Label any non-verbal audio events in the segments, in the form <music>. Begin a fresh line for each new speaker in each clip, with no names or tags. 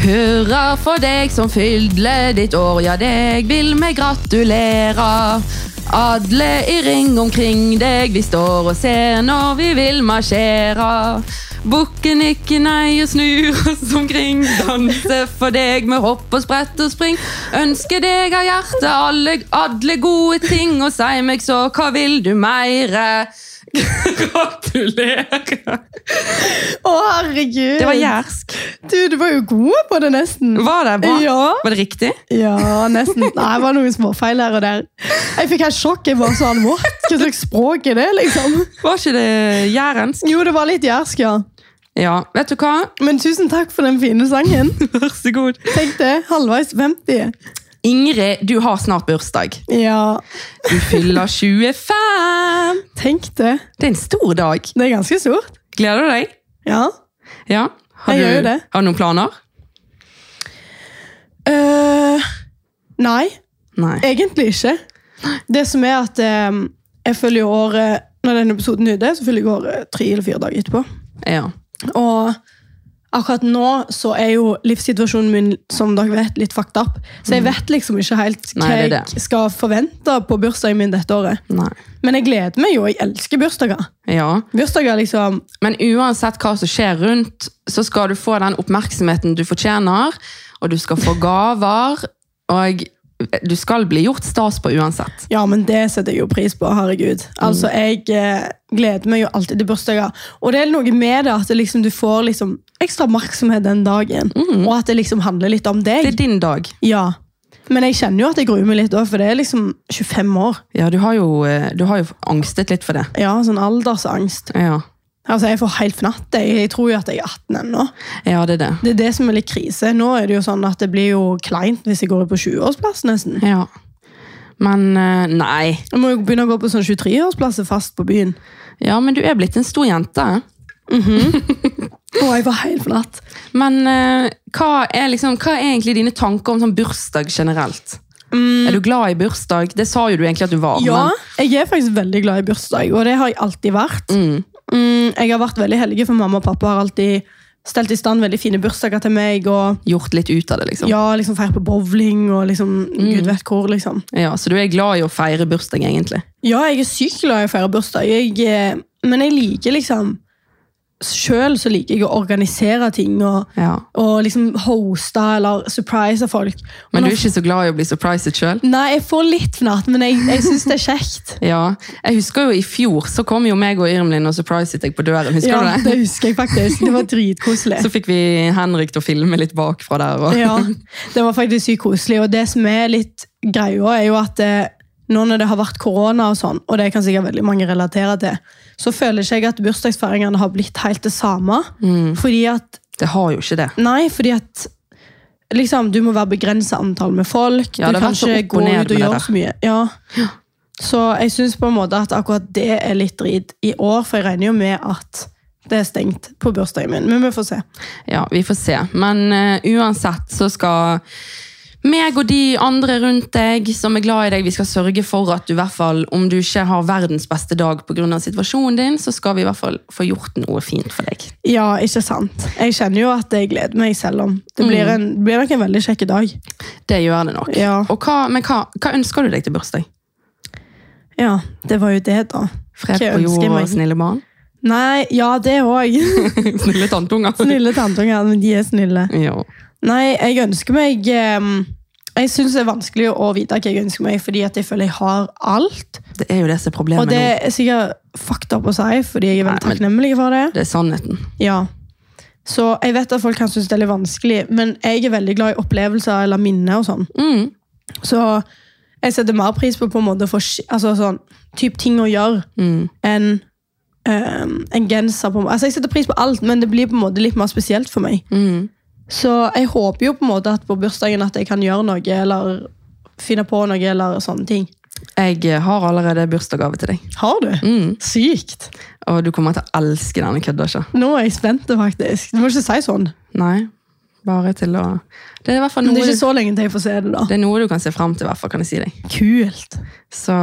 Hurra for deg som fyller ditt år, ja, deg vil vi gratulere. Alle i ring omkring deg, vi står og ser når vi vil marsjere. Bukken ikke nei og snur oss omkring, danse for deg med hopp og sprett og spring. Ønsker deg av hjertet alle, alle gode ting, og si meg så, hva vil du meire? Gratulerer!
Å, herregud.
Det var jærsk.
Du, du var jo god på det, nesten.
Var det bra?
Ja.
Var det riktig?
Ja, nesten. Nei, det var noen småfeil her og der. Jeg fikk helt sjokk. Jeg var sånn, what? Hva slags språk er det, liksom?
Var ikke det jærensk?
Jo, det var litt jærsk, ja.
Ja, vet du hva?
Men tusen takk for den fine sangen.
Vær så god.
Tenk det, halvveis 50.
Ingrid, du har snart bursdag.
Ja,
Du
<laughs>
fyller 25!
tenk det.
Det er en stor dag.
Det er ganske stort.
Gleder du deg?
Ja.
Ja. Har
Jeg
du,
gjør jo det.
Har du noen planer?
Eh, nei,
Nei.
egentlig ikke. Det som er at eh, jeg følger jo året, når denne episoden er ute, så følger jeg året tre eller fire dager etterpå.
Ja.
Og akkurat nå så er jo livssituasjonen min som dere vet, litt fucked up. Så jeg vet liksom ikke helt hva
Mm. Nei, det er
jeg skal forvente på bursdagen min dette året.
Nei.
Men jeg gleder meg jo. Jeg elsker bursdager.
Ja.
Bursdager liksom
Men uansett hva som skjer rundt, så skal du få den oppmerksomheten du fortjener, og du skal få gaver, og du skal bli gjort stas på uansett.
Ja, men det setter jeg jo pris på. Herregud.
Mm.
Altså, Jeg eh, gleder meg jo alltid til bursdager. Og det er noe med det at det liksom, du får liksom ekstra oppmerksomhet den dagen. Og at det liksom handler litt om
Mm. Det er
deg.
din dag.
Ja. Men jeg kjenner jo at jeg gruer meg litt òg, for det er liksom 25 år.
Ja, du har jo, eh, du har jo angstet litt for det.
Ja, sånn aldersangst.
Ja,
Altså, Jeg får helt fnatt. Jeg, jeg tror jo at jeg er 18 ennå.
ja det er det.
Det er det som er litt krise. Nå er det jo sånn at det blir jo kleint hvis jeg går på 20-årsplass, nesten.
Ja. Men eh, nei.
Jeg må jo begynne å gå på sånn 23-årsplasser fast på byen.
Ja, men du er blitt en stor jente.
Å, jeg var helt fnatt.
Men eh, hva, er liksom, hva er egentlig dine tanker om sånn bursdag generelt? Er du glad i bursdag? Det sa jo du egentlig at du var.
Mm. Ja, jeg er faktisk veldig glad i bursdag, og det har jeg alltid vært.
Men, mm,
Mm, jeg har vært veldig heldig, for mamma og pappa har alltid stelt i stand veldig fine bursdager til meg, og
gjort litt ut av det, liksom.
ja, liksom feiret på bowling, og liksom, gud vet hvor, liksom.
Ja, så du er glad i å feire bursdag, egentlig?
Ja, jeg er sykt glad i å feire bursdag, jeg, eh, men jeg liker liksom, selv så liker jeg å organisere ting, og,
Ja.
og liksom hoste eller surprise folk.
Men du
nå-
er ikke så glad i å bli surpriset sjøl?
Nei, jeg får litt fnatt, men jeg, jeg synes det er
<laughs>
kjekt.
Ja. Jeg husker jo i fjor, så kom jo meg og Irmlin og surpriset deg på døren. Husker
Ja,
du det?
<laughs> det husker jeg faktisk. Det
<laughs>
var dritkoselig.
Så fikk vi Henrik til å filme litt bakfra der. Og...
Ja, det var faktisk sykt koselig. Og det som er litt greia, er jo at eh, nå når det har vært korona og sånn, og det kan sikkert veldig mange relatere til, så føler ikke jeg at bursdagsfeiringene har blitt helt det samme.
Mm.
Fordi at
Det har jo ikke det.
Nei, fordi at liksom, du må være begrenset antall med folk.
Ja,
du
det har
kan
vært så
ikke
opp og
gå
ned
ut
med
og
det
gjøre
der.
så mye. Ja. Så jeg syns på en måte at akkurat det er litt drit i år, for jeg regner jo med at det er stengt på bursdagen min. Men vi får se.
Ja, vi får se. Men eh, uansett så skal meg og de andre rundt deg som er glad i deg, vi skal sørge for at du i hvert fall, om du ikke har verdens beste dag pga. situasjonen din, så skal vi i hvert fall få gjort noe fint for deg.
Ja, ikke sant. Jeg kjenner jo at jeg gleder meg selv om. Det blir,
Mm.
en, blir nok en veldig kjekk dag.
Det gjør det nok.
Ja.
Og hva, men hva, hva ønsker du deg til bursdag?
Ja, det var jo det, da.
Fred
Hva
på jord
ønsker jeg
og
meg?
snille barn? <laughs>
Nei, ja, det òg. <laughs>
snille tantunger.
snille tantunger, men de er snille.
Ja.
Nei, jeg ønsker meg ehm, Jeg syns det er vanskelig å vite hva jeg ønsker meg, fordi at jeg føler jeg har alt.
Det er jo det som er problemet
Og det
nå.
er sikkert fucked up å si, fordi jeg er veldig
Nei, men-
takknemlig for det.
Det er sannheten.
Ja. Så jeg vet at folk kan synes det er litt vanskelig, men jeg er veldig glad i opplevelser eller minner og sånn.
Mm.
Så jeg setter mer pris på på en måte for, altså sånn, typ ting å gjøre
Mm.
enn ehm, en genser. på en måte. Altså Jeg setter pris på alt, men det blir på en måte litt mer spesielt for meg.
Mm.
Så jeg håper jo på en måte at på bursdagen at jeg kan gjøre noe, eller finne på noe, eller sånne ting.
Jeg eh, har allerede bursdagsgave til deg.
Har du?
Mm.
Sykt!
Og du kommer til å elske denne kødda, ikke?
Nå er jeg spent, faktisk. Du må ikke si sånn.
Nei, bare til å Det er i hvert fall
Men
noe,
det er ikke
du,
så lenge til jeg får se det, da.
det er noe du kan se fram til, i hvert fall, kan jeg si deg.
Kult.
Så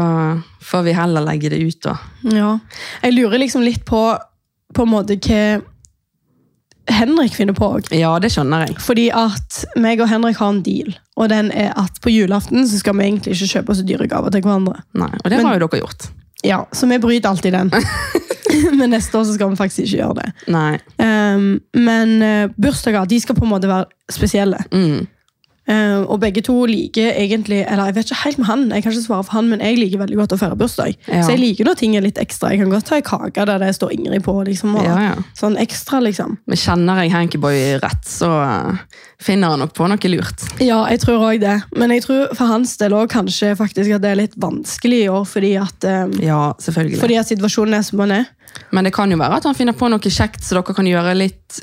får vi heller legge det ut, da.
Ja. Jeg lurer liksom litt på på en måte hva Henrik finner på òg.
Ja, det skjønner jeg.
Fordi at meg og Henrik har en deal, og den er at på julaften så skal vi egentlig ikke kjøpe så dyre gaver til hverandre.
Nei, og det
Men-
har jo dere gjort.
Ja, Så vi bryter alltid <laughs> den. Men neste år så skal vi faktisk ikke gjøre det.
Nei.
Ehm, men eh, bursdager de skal på en måte være spesielle.
Mm.
Ehm, og begge to liker egentlig Eller jeg vet ikke helt med han, jeg kan ikke svare for han, men jeg liker veldig godt å feire bursdag.
Ja.
Så jeg liker når ting er litt ekstra. Jeg kan godt ta en kake der det står Ingrid på. liksom og
Ja, ja.
Sånn ekstra, liksom.
Men kjenner jeg Hankyboy rett, så eh, finner han nok på noe lurt.
Ja, jeg tror òg det. Men jeg tror for hans del òg kanskje faktisk at det er litt vanskelig i år, fordi at, ehm,
Ja, selvfølgelig.
fordi at situasjonen er som den er.
Men det kan jo være at han finner på noe kjekt så dere kan gjøre litt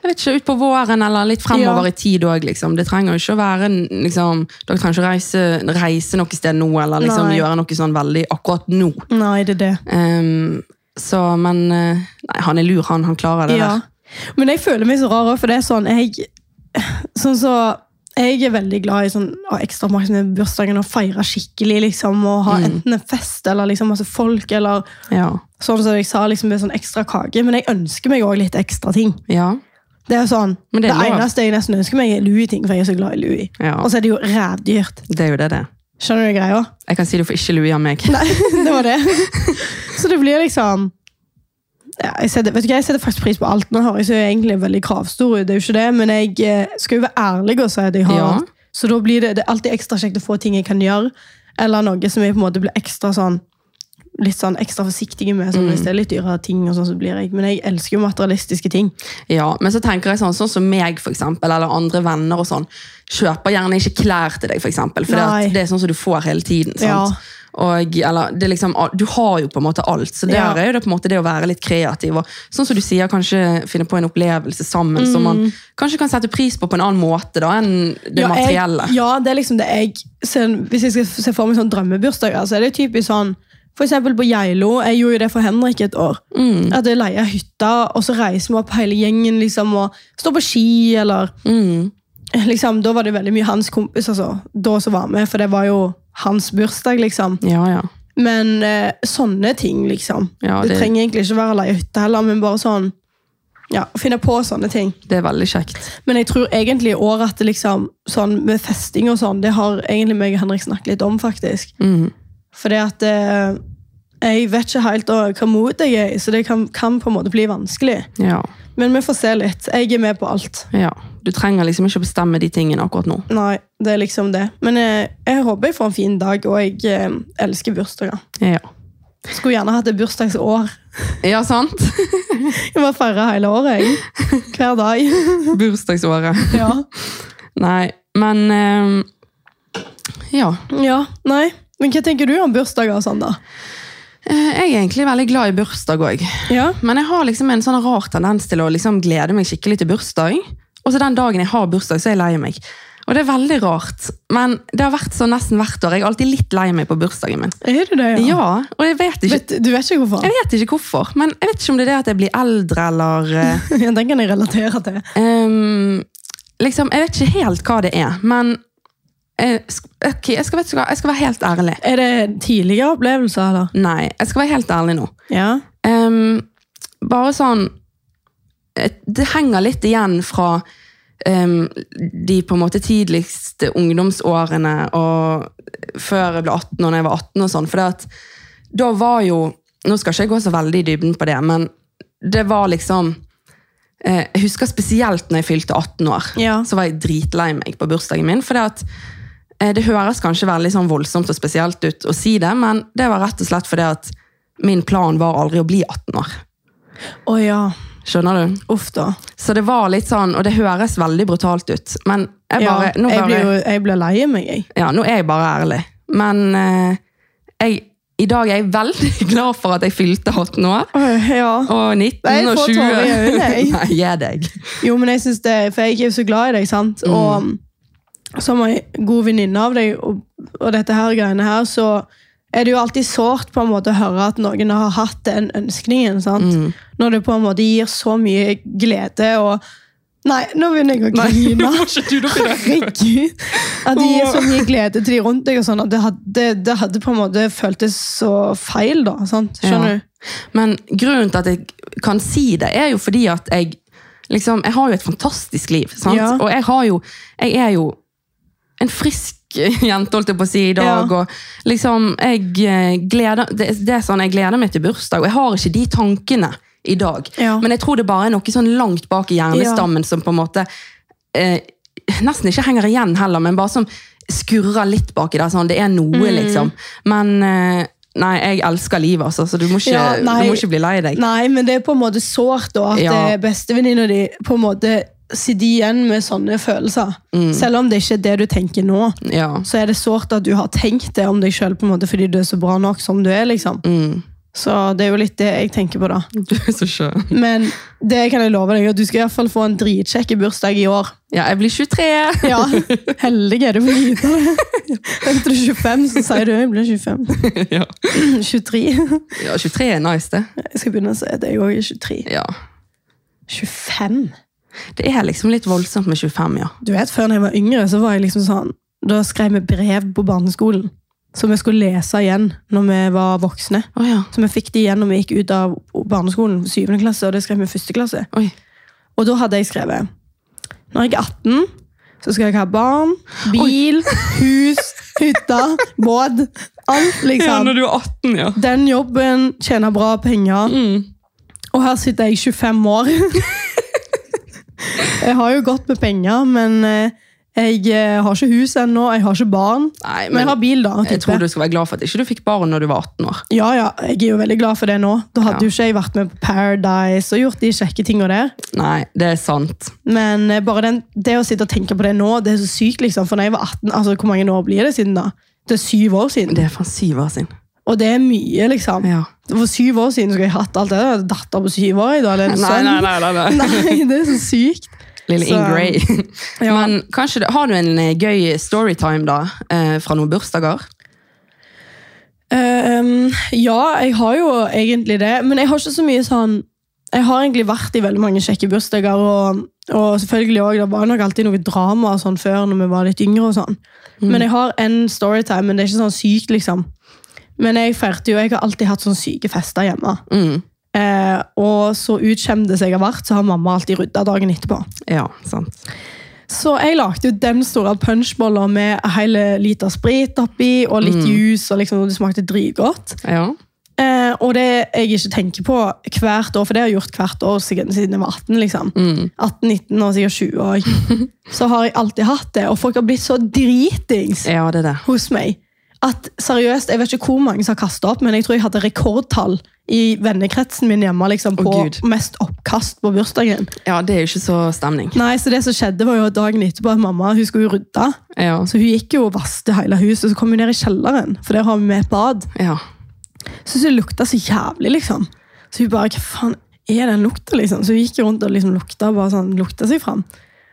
jeg vet ikke, ut på våren eller litt fremover
Ja.
i tid òg. Liksom. Det trenger jo ikke å være en- liksom, Dere trenger ikke å reise, reise noe sted nå eller liksom,
Nei.
gjøre noe sånn veldig akkurat nå.
Nei, det er det.
Ehm, så, men eh, nei, han er lur, han. Han klarer det
Ja.
der.
Men jeg føler meg så rar òg, for det er sånn jeg, sånn så, jeg er veldig glad i sånn, å ha ekstra oppmerksomhet på bursdagen og feire skikkelig. liksom,
Mm.
Og ha enten en fest eller liksom masse folk, eller
Ja.
sånn som jeg sa, liksom med sånn ekstra kake. Men jeg ønsker meg òg litt ekstra ting.
ja.
Det er jo sånn,
Men det
det,
er lov.
eneste jeg nesten ønsker meg, er Louis-ting, for jeg er så glad i Louis.
Ja.
Og så er det jo rævdyrt.
Det er jo det, det.
Skjønner du greia?
Jeg kan si du får ikke lue av meg.
Nei, <laughs> det var det. Så det blir liksom ja, jeg, setter, vet du hva, jeg setter faktisk pris på alt. Nå høres jeg jo egentlig veldig kravstor ut, det er jo ikke det, men jeg eh, skal jo være ærlig og si at jeg har
Ja.
alt. Så da blir det, det er alltid ekstra kjekt å få ting jeg kan gjøre, eller noe som jeg på en måte blir ekstra sånn litt sånn ekstra forsiktig med. Sånn, Hvis det er litt dyrere ting, og sånn, så blir jeg Men jeg elsker jo materialistiske ting.
Ja, men så tenker jeg sånn, sånn som meg for eksempel, eller andre venner og sånn, kjøper gjerne ikke klær til deg for eksempel, for
Nei.
det er sånn som du får hele tiden, sant?
Ja.
Og, eller, det er liksom, du har jo på en måte alt, så der
Ja.
er jo det på en måte det å være litt kreativ, og sånn som du sier, kanskje finne på en opplevelse sammen, som man kanskje kan sette pris på på en annen måte da, enn det
Mm. Ja,
materielle.
Jeg, ja, det er liksom det jeg ser, Hvis jeg skal se for meg sånn drømmebursdager, så er det typisk sånn for eksempel på Geilo. Jeg gjorde jo det for Henrik et år.
Mm.
At jeg leier hytta, og så reiser vi opp hele gjengen liksom, og står på ski. eller
Mm.
liksom, Da var det veldig mye hans kompiser altså, da som var med, for det var jo hans bursdag. liksom.
Ja, ja.
Men eh, sånne ting, liksom.
Ja,
det...
det-
trenger egentlig ikke være å leie hytte heller, men bare sånn ja, finne på sånne ting.
Det er veldig kjekt.
Men jeg tror egentlig i år at det liksom, sånn med festing og sånn, det har egentlig meg og Henrik snakket litt om, faktisk.
Mm.
Fordi at eh, jeg vet ikke helt eh, hva mot jeg er i, så det kan, kan på en måte bli vanskelig.
Ja,
Men vi får se litt. Jeg er med på alt.
ja. Du trenger liksom ikke å bestemme de tingene akkurat nå.
Nei, det er liksom det. Men eh, jeg håper jeg får en fin dag, og jeg eh, elsker bursdager.
Ja,
Skulle gjerne hatt et bursdagsår.
ja sant?
Jeg bare feirer hele året, jeg. Hver dag.
<laughs> Bursdagsåret.
<laughs> Ja.
Nei, men ehm, Ja.
ja. Nei. Men hva tenker du om bursdager og sånn, da?
Eh, Jeg er egentlig veldig glad i bursdag òg.
Ja.
Men jeg har liksom en sånn rar tendens til å liksom glede meg skikkelig til bursdag. Og så den dagen jeg har bursdag, så er jeg lei meg. Og det er veldig rart. Men det har vært sånn nesten hvert år. Jeg er alltid litt lei meg på bursdagen min.
Er du det? Ja.
Ja, og jeg vet ikke,
Vet, du vet ikke hvorfor?
jeg vet ikke hvorfor. Men jeg vet ikke om det er det at jeg blir eldre, eller eh,
<laughs> Ja, den kan jeg relatere til.
Ehm, liksom, Jeg vet ikke helt hva det er. Men eh, sk- ok, jeg, skal, vet du hva, jeg skal være helt ærlig.
Er det tidligere opplevelser, eller?
Nei, jeg skal være helt ærlig nå.
Ja.
Ehm, bare sånn eh, Det henger litt igjen fra ehm, de på en måte tidligste ungdomsårene og før jeg ble 18 og når jeg var 18 og sånn. For at da var jo Nå skal ikke jeg gå så veldig i dybden på det, men det var liksom eh, Jeg husker spesielt når jeg fylte 18 år.
Ja.
Så var jeg dritlei meg på bursdagen min. For det at eh, det høres kanskje veldig sånn voldsomt og spesielt ut å si det, men det var rett og slett fordi at min plan var aldri å bli 18 år.
Å ja.
Skjønner du?
Uff, da.
Så det var litt sånn, og det høres veldig brutalt ut, men jeg
Ja,
bare, nå,
jeg
bare
blir jo jeg blir lei meg, jeg.
ja, nå er jeg bare ærlig. Men eh, jeg, i dag er jeg veldig <laughs> glad for at jeg fylte 18 år.
ja.
Og 19
Nei, jeg
og
får
20.
tårer i øynene, jeg.
<laughs> Nei, gi deg.
Jo, men jeg synes det, for jeg er jo så glad i deg, sant?
Mm.
Og som en god venninne av deg, og, og dette her greiene her, så er det jo alltid sårt på en måte å høre at noen har hatt den ønskningen, sant?
Mm.
Når det på en måte gir så mye glede, og Nei, nå begynner jeg å
<laughs>
grine. Herregud. At det gir så mye glede til de rundt deg. og sånn, at det hadde, det hadde på en måte føltes så feil, da. sant? Skjønner
Ja. Men grunnen til at jeg kan si det, er jo fordi at jeg liksom, jeg har jo et fantastisk liv, sant?
Ja.
og jeg, har jo, jeg er jo en frisk <laughs> jente, holdt jeg på å si, i dag.
Ja.
Og liksom, jeg eh, gleder, det, det er sånn, jeg gleder meg til bursdag, og jeg har ikke de tankene i dag.
Ja.
Men jeg tror det bare er noe sånn langt bak i hjernestammen som på en måte eh, nesten ikke henger igjen heller, men bare som skurrer litt baki der. Sånn, det er noe, liksom. Men eh, nei, jeg elsker livet, altså, så du må ikke,
Ja, nei.
du må ikke bli lei deg.
Nei, men det er på en måte sårt da, at
Ja.
eh, bestevenninna di på en måte sitter igjen med sånne følelser.
Mm.
Selv om det ikke er det du tenker nå,
Ja.
så er det sårt at du har tenkt det om deg sjøl fordi du er så bra nok som du er. liksom.
Mm.
Så det er jo litt det jeg tenker på, da.
Du er så skjønn.
Men det kan jeg love deg, at du skal i hvert fall få en dritkjekk bursdag i år.
Ja, jeg blir 23!
Ja, Heldig er du for lite. Venter du 25, så sier du jeg blir 25.
<laughs> ja.
23. Jeg
ja, 23 er nice, det.
skal begynne å si at jeg òg er 23.
Ja.
25?
Det er liksom litt voldsomt med 25, ja.
Du vet, Før da jeg var yngre, så var jeg liksom sånn Da skrev vi brev på barneskolen som vi skulle lese igjen når vi var voksne.
Å ja.
Så vi fikk det igjen når vi gikk ut av barneskolen, 7. klasse, og det skrev vi i 1. klasse.
Oi.
Og da hadde jeg skrevet Når jeg er 18, så skal jeg ha barn, bil, hus, hytte, båt. Alt, liksom.
du er 18, ja.
Den jobben tjener bra penger.
Mm.
Og her sitter jeg 25
<laughs>
år. jeg har jo godt med penger, men eh, jeg eh, har ikke hus ennå. Jeg har ikke barn.
Nei,
Men jeg har
men
bil, da.
jeg
type.
tror du skal være glad for at ikke du fikk barn når du var 18 år.
Ja, ja, Jeg er jo veldig glad for det nå. Da hadde
Ja.
jo ikke jeg vært med på Paradise og gjort de kjekke tingene der.
Nei, det er sant.
Men eh, bare den, det å sitte og tenke på det nå, det er så sykt, liksom. For når jeg var 18, altså hvor mange år blir det siden da? Det er syv år siden.
Det er fra syv år siden.
Og det er mye, liksom.
Ja.
For syv år siden skulle jeg hatt alt det der. Jeg hadde Datter på syv år i dag, eller en
Nei,
sønn.
nei, nei, <laughs> nei, nei.
<laughs> Nei, det er så sykt.
Lille
Så-
Ingray.
Ja.
<laughs> Men kanskje, det- har du en eh, gøy storytime da, eh, fra noen bursdager?
Eh, um, ja, jeg har jo egentlig det, men jeg har ikke så mye sånn Jeg har egentlig vært i veldig mange kjekke bursdager, og, og selvfølgelig også, det var nok alltid noe drama og sånn før når vi var litt yngre. og sånn. Men jeg har en storytime, men det er ikke sånn sykt, liksom. Men jeg feirte jo, jeg har alltid hatt sånn syke fester hjemme.
Mm.
Eh, og så utkjemmet jeg har vært, så har mamma alltid rydda dagen etterpå.
Ja, sant.
Så jeg lagde jo den store punchboller med en hel liter sprit oppi, og litt juice, og liksom, og det smakte dritgodt.
Ja.
Eh, og det jeg ikke tenker på hvert år, for det har jeg gjort hvert år siden siden jeg var 18. liksom. 18-19 og sikkert 20 år. Så har jeg alltid hatt det, og folk har blitt så dritings
ja, det er det.
hos meg. At seriøst, Jeg vet ikke hvor mange som har kasta opp, men jeg tror jeg hadde rekordtall i vennekretsen min hjemme liksom, på
Gud.
mest oppkast på bursdagen.
Ja, det er jo ikke så stemning.
Nei, så det som skjedde var jo at Dagen etterpå at mamma hun skulle jo rydde.
Ja.
Så Altså, hun gikk jo og vasket hele huset, så kom hun ned i kjelleren, for der har vi med et bad.
ja.
Så syntes hun det lukta så jævlig, liksom. Så hun bare, hva faen er den lukta, liksom? Så hun gikk rundt og liksom lukta, bare sånn, lukta seg fram.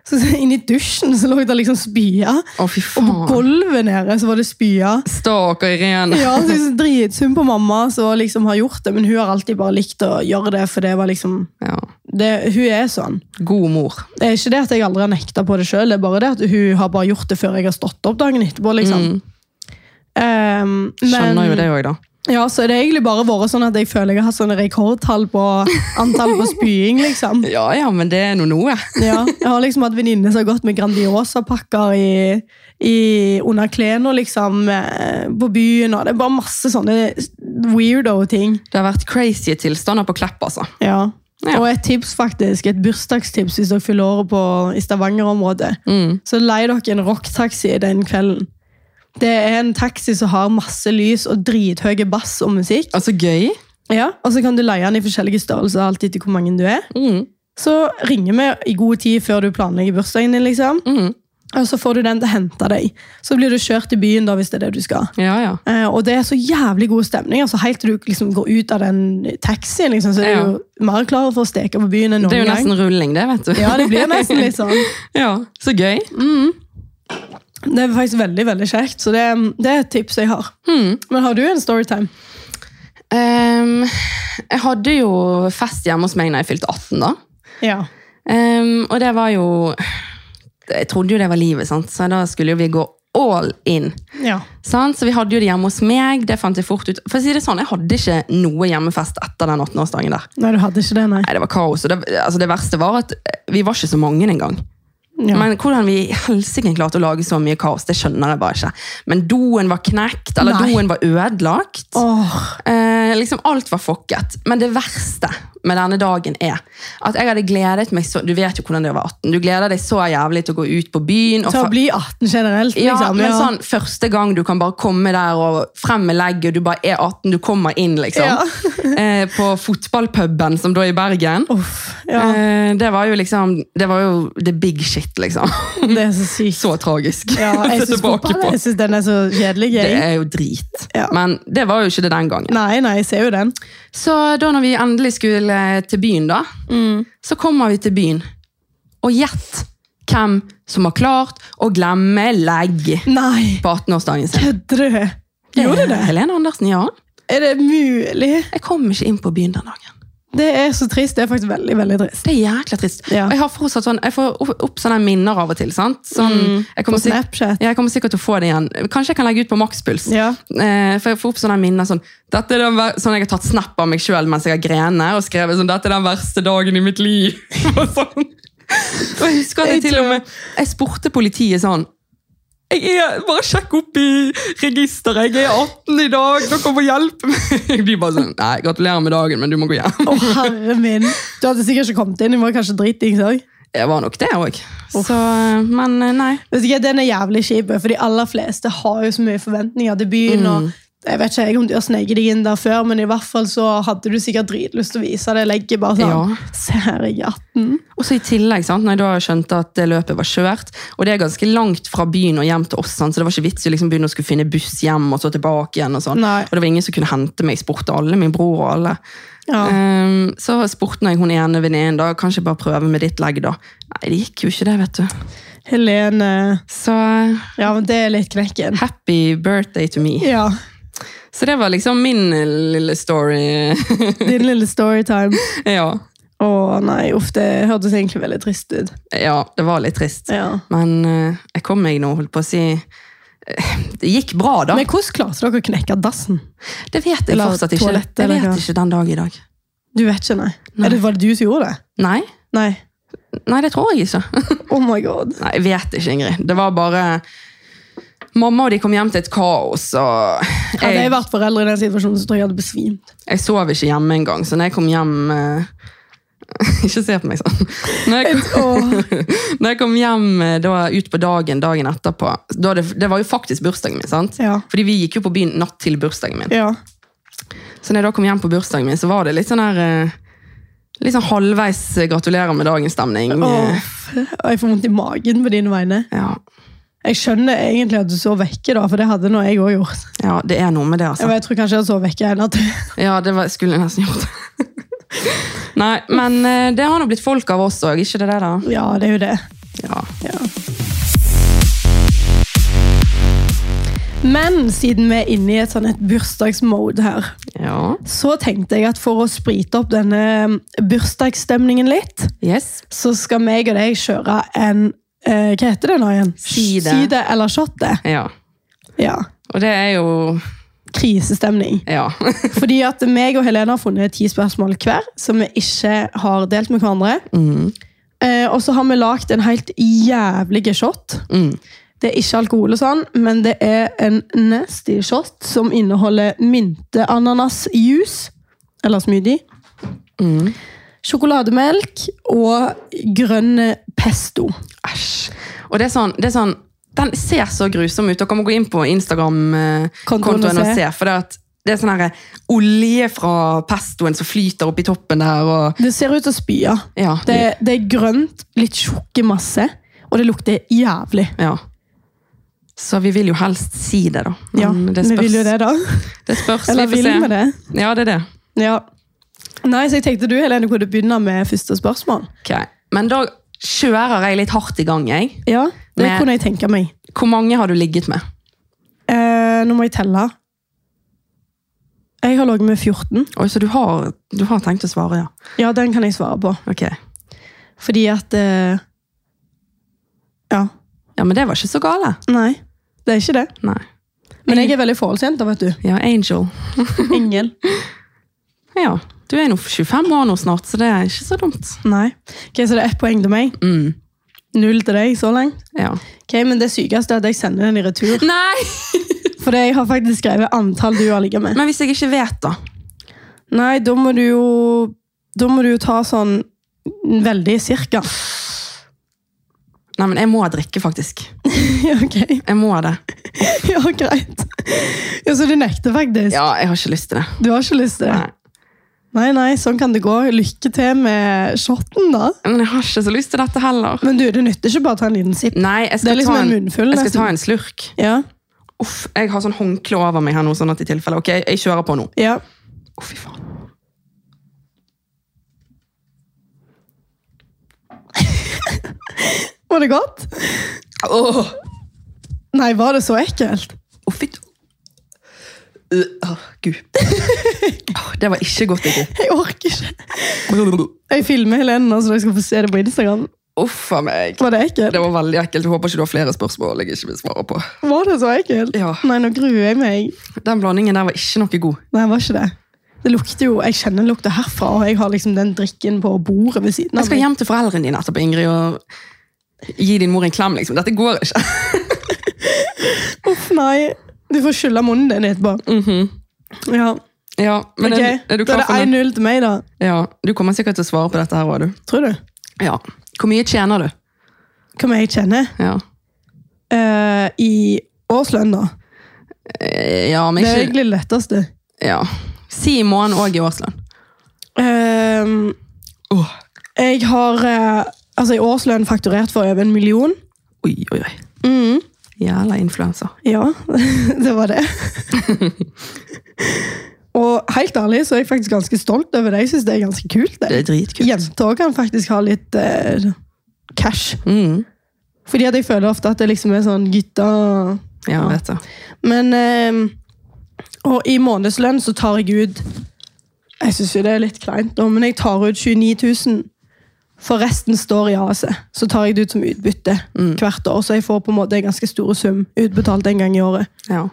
Så, <laughs> så inn i dusjen så lå det liksom spya,
Å, fy
og på
faen.
gulvet nede så var det spya.
Stakkar Irene.
Ja, så jeg synes dritsum på mamma som liksom har gjort det, men hun har alltid bare likt å gjøre det, for det var liksom,
Ja.
det, hun er sånn.
God mor.
Det er ikke det at jeg aldri har nekta på det sjøl, det er bare det at hun har bare gjort det før jeg har stått opp dagen etterpå. liksom.
Mm.
Ehm,
Skjønner jo
men,
det òg, da.
ja, så er det egentlig bare vært sånn at jeg føler jeg har hatt sånne rekordtall på antall på spying. liksom.
<laughs> Ja, ja, men det er nå noe.
Ja, jeg har liksom hatt venninner som har gått med Grandiosa-pakker i, i, under klærne liksom, eh, på byen. og Det er bare masse sånne weirdo-ting.
Det har vært crazy tilstander på Klepp, altså.
Ja.
Ja.
Og et tips faktisk, et bursdagstips hvis dere fyller året på i Stavanger-området.
Mm.
Så lei dere en rocktaxi den kvelden. Det er en taxi som har masse lys og drithøye bass og musikk.
Altså, gøy.
Ja, Og så kan du leie den i forskjellige størrelser, alt etter hvor mange du er.
Mm.
Så ringer vi i god tid før du planlegger bursdagen din, liksom.
Mhm.
Og så får du den til å hente deg. Så blir du kjørt til byen, da, hvis det er det du skal.
Ja, ja.
Eh, og det er så jævlig god stemning. altså Helt til du liksom går ut av den taxien, liksom, så er
Ja.
du jo mer klar for å steke på byen enn
Det er
noen
jo
gang.
nesten rulling, det, vet du.
Ja, det blir nesten litt sånn.
<laughs> Ja, Så gøy.
Det er faktisk veldig veldig kjekt, så det, det er et tips jeg har.
Hmm.
Men har du en storytime?
Ehm, jeg hadde jo fest hjemme hos meg da jeg fylte 18, da.
Ja.
Ehm, og det var jo Jeg trodde jo det var livet, sant? så da skulle jo vi gå all in.
Ja.
Sant? Så vi hadde jo det hjemme hos meg. Det fant jeg fort ut. For å si det sånn, Jeg hadde ikke noe hjemmefest etter den 18-årsdagen der.
Nei, du hadde ikke det, nei.
Nei, Det var kaos. Og det, altså det verste var at eh, vi var ikke så mange engang.
Ja.
Men hvordan vi i helsike klarte å lage så mye kaos, det skjønner jeg bare ikke. Men doen var knekt, eller
Nei.
doen var ødelagt.
Åh,
Eh, liksom alt var fucket. Men det verste med denne dagen er at jeg hadde gledet meg så Du vet jo hvordan det var 18. Du gleder deg så jævlig til å gå ut på byen. Og
til å
fa-
bli 18 generelt,
ja,
liksom.
men sånn første gang du kan bare komme der og frem med legget, og du bare er 18, du kommer inn, liksom. <laughs> eh, på fotballpuben, som da er i Bergen.
Uff, ja.
Eh, det var jo liksom Det var jo the big shit, liksom. <laughs>
Det er så sykt.
så tragisk
Ja,
<laughs> å se
jeg syns
tilbake
fotball-
på.
jeg syns den er så kjedelig.
Det
Jeg.
er jo drit.
Ja.
Men det var jo ikke det den gangen.
Nei, nei, jeg ser jo den.
Så da når vi endelig skulle eh, til byen, da,
Mm.
så kommer vi til byen. Og gjett hvem som har klart å glemme legg
Nei,
på 18-årsdagen sin.
kødder du? Gjorde du det?
Helene Andersen, ja.
Er det mulig?
Jeg kom ikke inn på byen den dagen.
Det er så trist. Det er faktisk veldig, veldig trist.
Det er jækla trist.
Ja.
Og jeg har fortsatt sånn, jeg får opp, opp sånne minner av og til. sant? Sånn, jeg,
Mm. På
kommer sikk-
Snapchat.
ja, jeg kommer sikkert til å få det igjen. Kanskje jeg kan legge ut på makspuls.
Ja.
Eh, for jeg får opp sånne minner sånn, dette er den ver- sånn Jeg har tatt snap av meg sjøl mens jeg har grener, og skrevet sånn 'Dette er den verste dagen i mitt liv'. <laughs> og sånn. Og jeg husker at jeg
Jeg
til og
tror-
med Jeg spurte politiet sånn jeg er, Bare sjekk opp i registeret. Jeg er 18 i dag. Dere må hjelpe meg. <laughs> De bare sånn Nei, gratulerer med dagen, men du må gå hjem.
Å, herre min. Du hadde sikkert ikke kommet inn. Du var kanskje dritings òg.
Jeg var nok det òg.
Uff.
Så Men eh, nei.
Vet du hva, Den er jævlig kjip, for de aller fleste har jo så mye forventninger til byen.
Mm.
og jeg vet ikke jeg, om du har sneket deg inn der før, men i hvert fall så hadde du sikkert dritlyst til å vise det. Legge bare sånn,
Ja.
Se her, jeg er 18.
Og så i tillegg, sant, når jeg da skjønte at det løpet var kjørt, og det er ganske langt fra byen og hjem til oss, sant, så det var ikke vits i å liksom begynne å skulle finne buss hjem og så tilbake igjen. Og sånn.
Nei.
Og det var ingen som kunne hente meg. Jeg spurte alle, min bror og alle.
Ja.
Ehm, så spurte jeg hun ene venninnen da, kanskje bare prøve med ditt legg da. Nei, det gikk jo ikke det, vet du.
Helene
Så eh,
Ja, men det er litt knekken.
happy birthday to me.
Ja.
Så det var liksom min eh, lille story. <laughs>
Din lille storytime.
ja.
Å nei, uff, det hørtes egentlig veldig trist ut.
ja, det var litt trist.
Ja.
Men eh, jeg kom meg nå, holdt på å si. Eh, Det gikk bra da.
Men hvordan klarte dere å knekke dassen?
Det vet jeg
Eller
fortsatt ikke.
toalett,
jeg
eller
vet
hva?
ikke den dag i dag.
Du vet ikke, nei.
Nei.
Er det, var det du som gjorde det?
Nei,
Nei.
nei det tror jeg ikke.
Oh my god.
Nei, Jeg vet ikke, Ingrid. Det var bare Mamma og de kom hjem til et kaos. og
Hadde jeg
jeg,
vært foreldre i den situasjonen, så tror jeg jeg hadde besvimt.
jeg sov ikke hjemme engang, så når jeg kom hjem eh, <laughs> Ikke se på meg sånn. Når jeg, kom,
Åh.
når jeg kom hjem eh, da, ut på dagen dagen etterpå da det, det var jo faktisk bursdagen min, sant?
Ja.
Fordi vi gikk jo på byen natt til bursdagen min.
Ja.
Så når jeg da kom hjem på bursdagen min, så var det litt sånn her eh, Litt sånn halvveis eh, gratulerer med dagen-stemning.
Åh, f- og jeg får vondt i magen på dine vegne.
Ja.
Jeg skjønner egentlig at du sov vekke, da, for det hadde nå jeg òg gjort.
Ja, det er noe med det,
Jeg,
altså.
vet, jeg tror kanskje jeg hadde sovet vekke en natt.
Ja, det var, skulle jeg nesten gjort. <laughs> Nei, men eh, det har nå blitt folk av oss òg, ikke det det, da?
<laughs> Ja, det er jo det.
Ja.
Ja. Men siden vi er inne i et sånn et bursdagsmode her,
ja.
så tenkte jeg at for å sprite opp denne um, bursdagsstemningen litt,
Yes.
så skal meg og deg kjøre en eh, Hva heter det nå igjen?
Side.
Side eller shotte.
Ja.
Ja.
Og det er jo
Krisestemning.
Ja. <laughs>
Fordi at meg og Helene har funnet ti spørsmål hver, som vi ikke har delt med hverandre.
Mm.
Eh, og så har vi lagd en helt jævlig shot.
Mm.
Det er ikke alkohol og sånn, men det er en nasty shot som inneholder mynteananasjuice, eller smoothie,
Mm.
sjokolademelk og grønn pesto.
Æsj. Og det er sånn, det er sånn Den ser så grusom ut. Dere må gå inn på
Kontoen
Instagram-kontoen
og
og
se.
se. For det, er at det er sånn her olje fra pestoen som flyter oppi toppen der. Og,
Det ser ut som spya.
ja,
Det, det er grønt, litt tjukke masse, og det lukter jævlig.
ja. Så vi vil jo helst si det, da. Men
Ja,
Mm, det
vi
spørs.
vil jo det, da.
Det spørs.
Eller
vi
vil
får se.
vi det?
Ja, det er det.
Ja. Nei, så jeg tenkte du, Helene, kunne begynne med første spørsmål.
Ok. Men da kjører jeg litt hardt i gang, jeg.
Ja, det
Med-
kunne jeg tenke meg.
Hvor mange har du ligget med?
Eh, nå må jeg telle. Jeg har ligget med 14.
Oi, så du har, du har tenkt å svare, ja.
Ja, den kan jeg svare på.
Ok.
Fordi at eh, Ja.
Ja, men det var ikke så gale.
Nei. Det er ikke det.
Nei.
Men jeg er veldig forholdsjente, vet <laughs> du.
Ja, Angel.
Engel.
Ja. Du er nå 25 år nå snart, så det er ikke så dumt.
Nei. Ok, Så det er ett poeng til meg.
Mm.
Null til deg så langt.
Ja.
Ok, Men det sykeste er at jeg sender den i retur.
Nei!
For jeg har faktisk skrevet antall du har ligget med.
Men hvis jeg ikke vet, da?
Nei, da må du jo Da må du jo ta sånn veldig
<laughs>
cirka.
Nei, men jeg må drikke, faktisk.
Ja, ok.
Jeg må det.
Ja, greit. Ja, Så du nekter faktisk?
Ja, jeg har ikke lyst til det.
Du har ikke lyst til det?
Nei.
Nei, nei, sånn kan det gå. Lykke til med shotten, da.
Men jeg har ikke så lyst til dette heller.
Men du, det nytter ikke bare å ta en liten sipp.
Nei, jeg
Det
skal,
er liksom
ta,
en
en,
munnfull,
jeg skal
nesten.
ta en slurk.
Ja,
Uff, jeg har sånn håndkle over meg her nå, sånn at i tilfelle Ok, jeg kjører på nå.
ja.
Å, fy faen.
Var det godt?
Åh!
Nei, var det så ekkelt?
Å, fy Åh, <laughs> Gud. Åh, det var ikke godt, ikke.
Jeg orker ikke. Jeg filmer Helene nå, så dere skal få se det på Instagram.
Uff a meg.
Var det
Det
ekkelt?
var veldig ekkelt. Jeg håper ikke du har flere spørsmål jeg ikke vil svare på.
Var det så ekkelt?
Ja.
Nei, nå gruer jeg meg.
Den blandingen der var ikke noe god.
Nei, var ikke det. Det lukter jo, Jeg kjenner den lukter herfra, og jeg har liksom den drikken på bordet ved siden
Jeg
av
skal
meg.
hjem til foreldrene dine etterpå, Ingrid, og gi din mor en klem, liksom. Dette går ikke. <laughs> Altså,
Uff, nei. Du får skylle munnen din etterpå. Ja,
Ja, Mhm. men
ok.
er, er du
da
klar
er
for
det
det?
1-0 til meg, da.
Ja, du kommer sikkert til å svare på dette her òg, du.
Tror du?
Ja. Hvor mye tjener du?
Hva må jeg kjenne?
Ja,
Eh, I årslønn, da.
Eh, ja men
Det er
ikke
egentlig det letteste.
ja. Si i måneden og i årslønn.
Ehm,
Åh,
jeg har eh, altså i årslønn fakturert for over en million.
Oi, oi, oi. Mm. Jævla influenser.
Ja, <laughs> det var
<laughs>
det. Og helt ærlig så er jeg faktisk ganske stolt over det. Jeg synes det er ganske kult.
Det
det.
er dritkult.
Jenter kan faktisk ha litt eh, cash.
Mm.
Fordi at jeg føler ofte at det liksom er sånn gutta
Ja, jeg vet det.
Men ehm, Og i månedslønn så tar jeg ut Jeg syns jo det er litt kleint, nå, men jeg tar ut 29 000. For resten står i AC. Så tar jeg det ut som utbytte hvert år. Så jeg får på en måte en ganske stor sum utbetalt en gang i året.
Ja.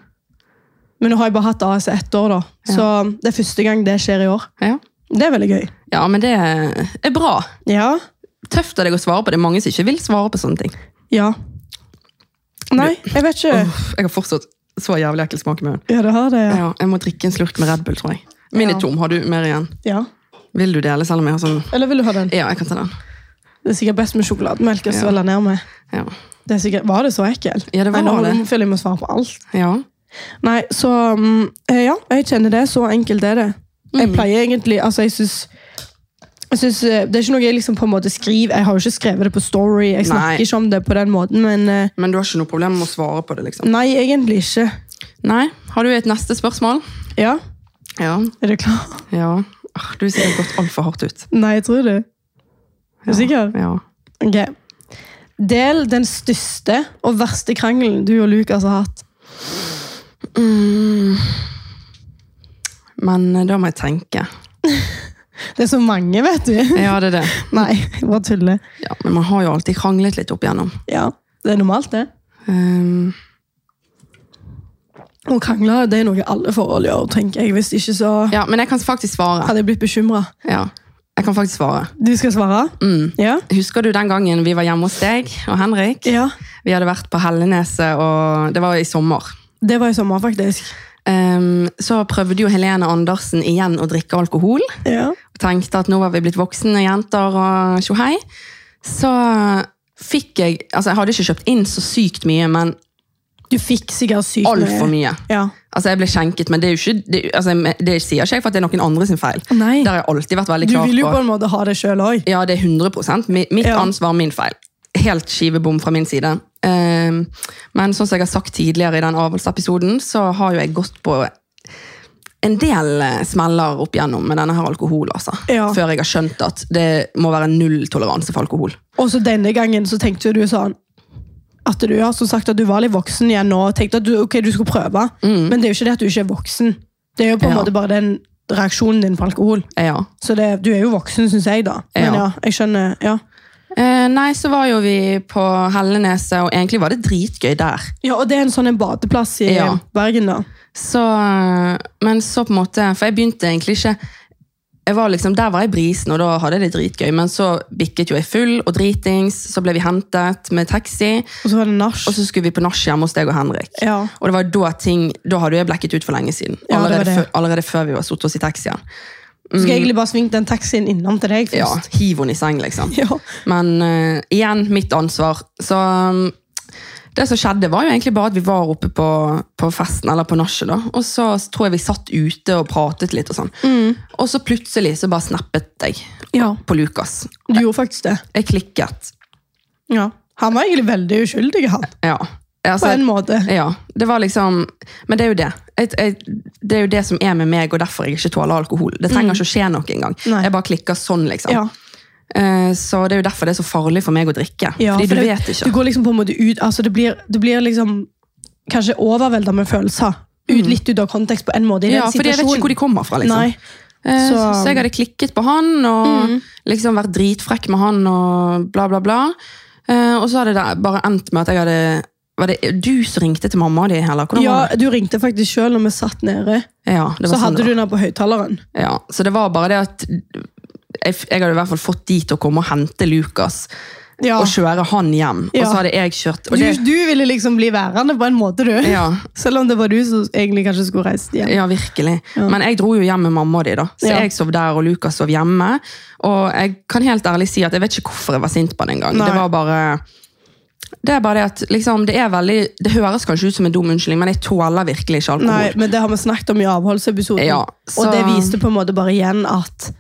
Men nå har jeg bare hatt AC ett år, da. Så det er første gang det skjer i år.
Ja.
Det er veldig gøy.
ja, men det er bra.
Ja.
Tøft av deg å svare på. Det er mange som ikke vil svare på sånne ting.
Ja. Nei, jeg vet ikke.
Uff, jeg har fortsatt så jævlig ekkel smak i munnen.
Ja, det har det. Ja.
Ja, jeg må drikke en slurk med Red Bull, tror jeg. Min
Ja.
er tom. Har du mer igjen?
ja.
Vil du dele, selv om jeg har sånn
Eller vil du ha den?
Ja, jeg kan ta den.
Det er sikkert best med sjokolademelk å
Ja.
svelge ned med.
Ja.
Det er sikkert, var det så ekkelt?
Ja, det var
Nei, nå
det.
må- føler jeg må svare på alt.
ja.
Nei, så mm, eh, ja, jeg kjenner det. Så enkelt er det. Jeg
Mm.
pleier egentlig Altså, jeg syns jeg synes, eh, Det er ikke noe jeg liksom på en måte skriver. Jeg har jo ikke skrevet det på Story. Jeg snakker
Nei.
ikke om det på den måten, men eh,
Men du har ikke noe problem med å svare på det, liksom?
nei, egentlig ikke.
Nei. Har du et neste spørsmål?
Ja,
Ja.
er du klar?
ja. Ah, Du er sikkert gått altfor hardt ut.
Nei, jeg tror det. Er du sikker?
Ja.
Ok. Del den største og verste krangelen du og Lukas har hatt.
Men eh, da må jeg tenke.
Det er så mange, vet
<laughs>
du.
Ja, det er det.
Nei, jeg bare tuller.
Ja, men man har jo alltid kranglet litt opp igjennom.
Ja, det er normalt, det.
Um,
Å krangle det er noe alle forhold gjør, tenker jeg. Hvis ikke så
ja, men jeg kan faktisk svare.
hadde jeg blitt bekymra.
Ja. Jeg kan faktisk svare.
Du skal svare?
Mm.
Ja.
Husker du den gangen vi var hjemme hos deg og Henrik?
ja.
Vi hadde vært på Helleneset, og det var i sommer.
Det var i sommer, faktisk.
Ehm, så prøvde jo Helene Andersen igjen å drikke alkohol.
Ja.
Og tenkte at nå var vi blitt voksne jenter og tjohei. Så fikk jeg Altså, jeg hadde ikke kjøpt inn så sykt mye, men
Du fikk sikkert sykt
altfor mye.
Ja.
Altså, jeg ble skjenket, men det er jo ikke det, altså, det sier ikke jeg for at det er noen andre sin feil.
Nei.
Der har jeg alltid vært veldig
Du
klar
vil jo
på
på en måte ha det sjøl òg.
Ja, det er 100 Mi- Mitt
Ja.
ansvar, min feil. Helt skivebom fra min side. Ehm, men sånn som jeg har sagt tidligere i den avholdsepisoden, så har jo jeg gått på en del eh, smeller opp igjennom med denne her alkohol, altså.
Ja.
Før jeg har skjønt at det må være null toleranse for alkohol.
Og så denne gangen så tenkte jo du sånn at du har som sagt at du var litt voksen igjen nå og tenkte at du, ok, du skulle prøve. Men det er jo ikke det at du ikke er voksen. Det er jo på en
Mm. Ja.
måte bare den reaksjonen din på alkohol.
Ja.
Så det, du er jo voksen, syns jeg, da. Men
Ja.
ja, jeg skjønner. Ja.
Eh, nei, så var jo vi på Helleneset, og egentlig var det dritgøy der.
Ja, og det er en sånn en badeplass i
Ja.
Bergen, da.
Så, men så på en måte For jeg begynte egentlig ikke jeg var liksom, Der var jeg brisen, og da hadde jeg det dritgøy. Men så bikket jo jeg full og dritings. Så ble vi hentet med taxi,
Og så var det nach.
og så skulle vi på nach hjemme hos deg og Henrik.
Ja.
Og det var da ting, da hadde jo jeg blekket ut for lenge siden.
Ja, det var
Allerede,
det.
før- allerede før vi var satt oss i taxien.
Så skal jeg egentlig bare svinge den taxien innom til deg
mm. Ja,
først. <laughs>
Hiv henne i seng, liksom.
Ja.
Men eh, igjen, mitt ansvar. Så um, det som skjedde, var jo egentlig bare at vi var oppe på, på festen, eller på nachet, da. Og så tror jeg vi satt ute og pratet litt og sånn.
Mm.
Og så plutselig så bare snappet jeg
Ja.
på Lukas.
Du gjorde faktisk det.
Jeg klikket.
Ja. Han var egentlig veldig uskyldig, han.
Ja.
På
Altså,
en måte.
ja. Det var liksom Men det er jo det. Jeg, jeg, det er jo det som er med meg, og derfor jeg ikke tåler alkohol. Det trenger ikke å skje noe engang.
Mm. Nei.
Jeg bare klikker sånn, liksom.
Ja.
Eh, så det er jo derfor det er så farlig for meg å drikke.
Ja,
fordi du
for det,
vet ikke.
Du går liksom på en måte ut, altså det blir, det blir liksom kanskje overvelda med følelser. Ut, litt ut av kontekst på en måte. I
Mm. Ja,
den
fordi jeg vet ikke hvor de kommer fra. liksom.
Nei.
Eh, Så,
Så- Mm.
så jeg hadde klikket på han og liksom vært dritfrekk med han og bla, bla, bla. Eh, og så hadde det bare endt med at jeg hadde Var det du som ringte til mamma di, eller? Hvordan
Ja,
var det?
du ringte faktisk sjøl når vi satt nede.
Ja, det var
Så
sånn
hadde
det
du
var.
den her på høyttaleren.
Ja, så det var bare det at jeg, f- jeg hadde i hvert fall fått de til å komme og hente Lukas
Ja.
og kjøre han hjem. Og
Ja.
så hadde jeg kjørt.
Du,
Og det,
du ville liksom bli værende på en måte, du.
ja,
Selv om det var du som egentlig kanskje skulle reist hjem.
Ja, virkelig. Men jeg dro jo hjem med mamma og de, da. Så
Ja.
jeg sov der, og Lukas sov hjemme. Og jeg kan helt ærlig si at jeg vet ikke hvorfor jeg var sint på han engang.
Nei.
Det var bare Det er bare det at liksom, det er veldig Det høres kanskje ut som en dum unnskyldning, men jeg tåler virkelig ikke alkohol.
Nei, men det har vi snakket om i avholdsepisoden.
Ja, så-
Og det viste på en måte bare igjen at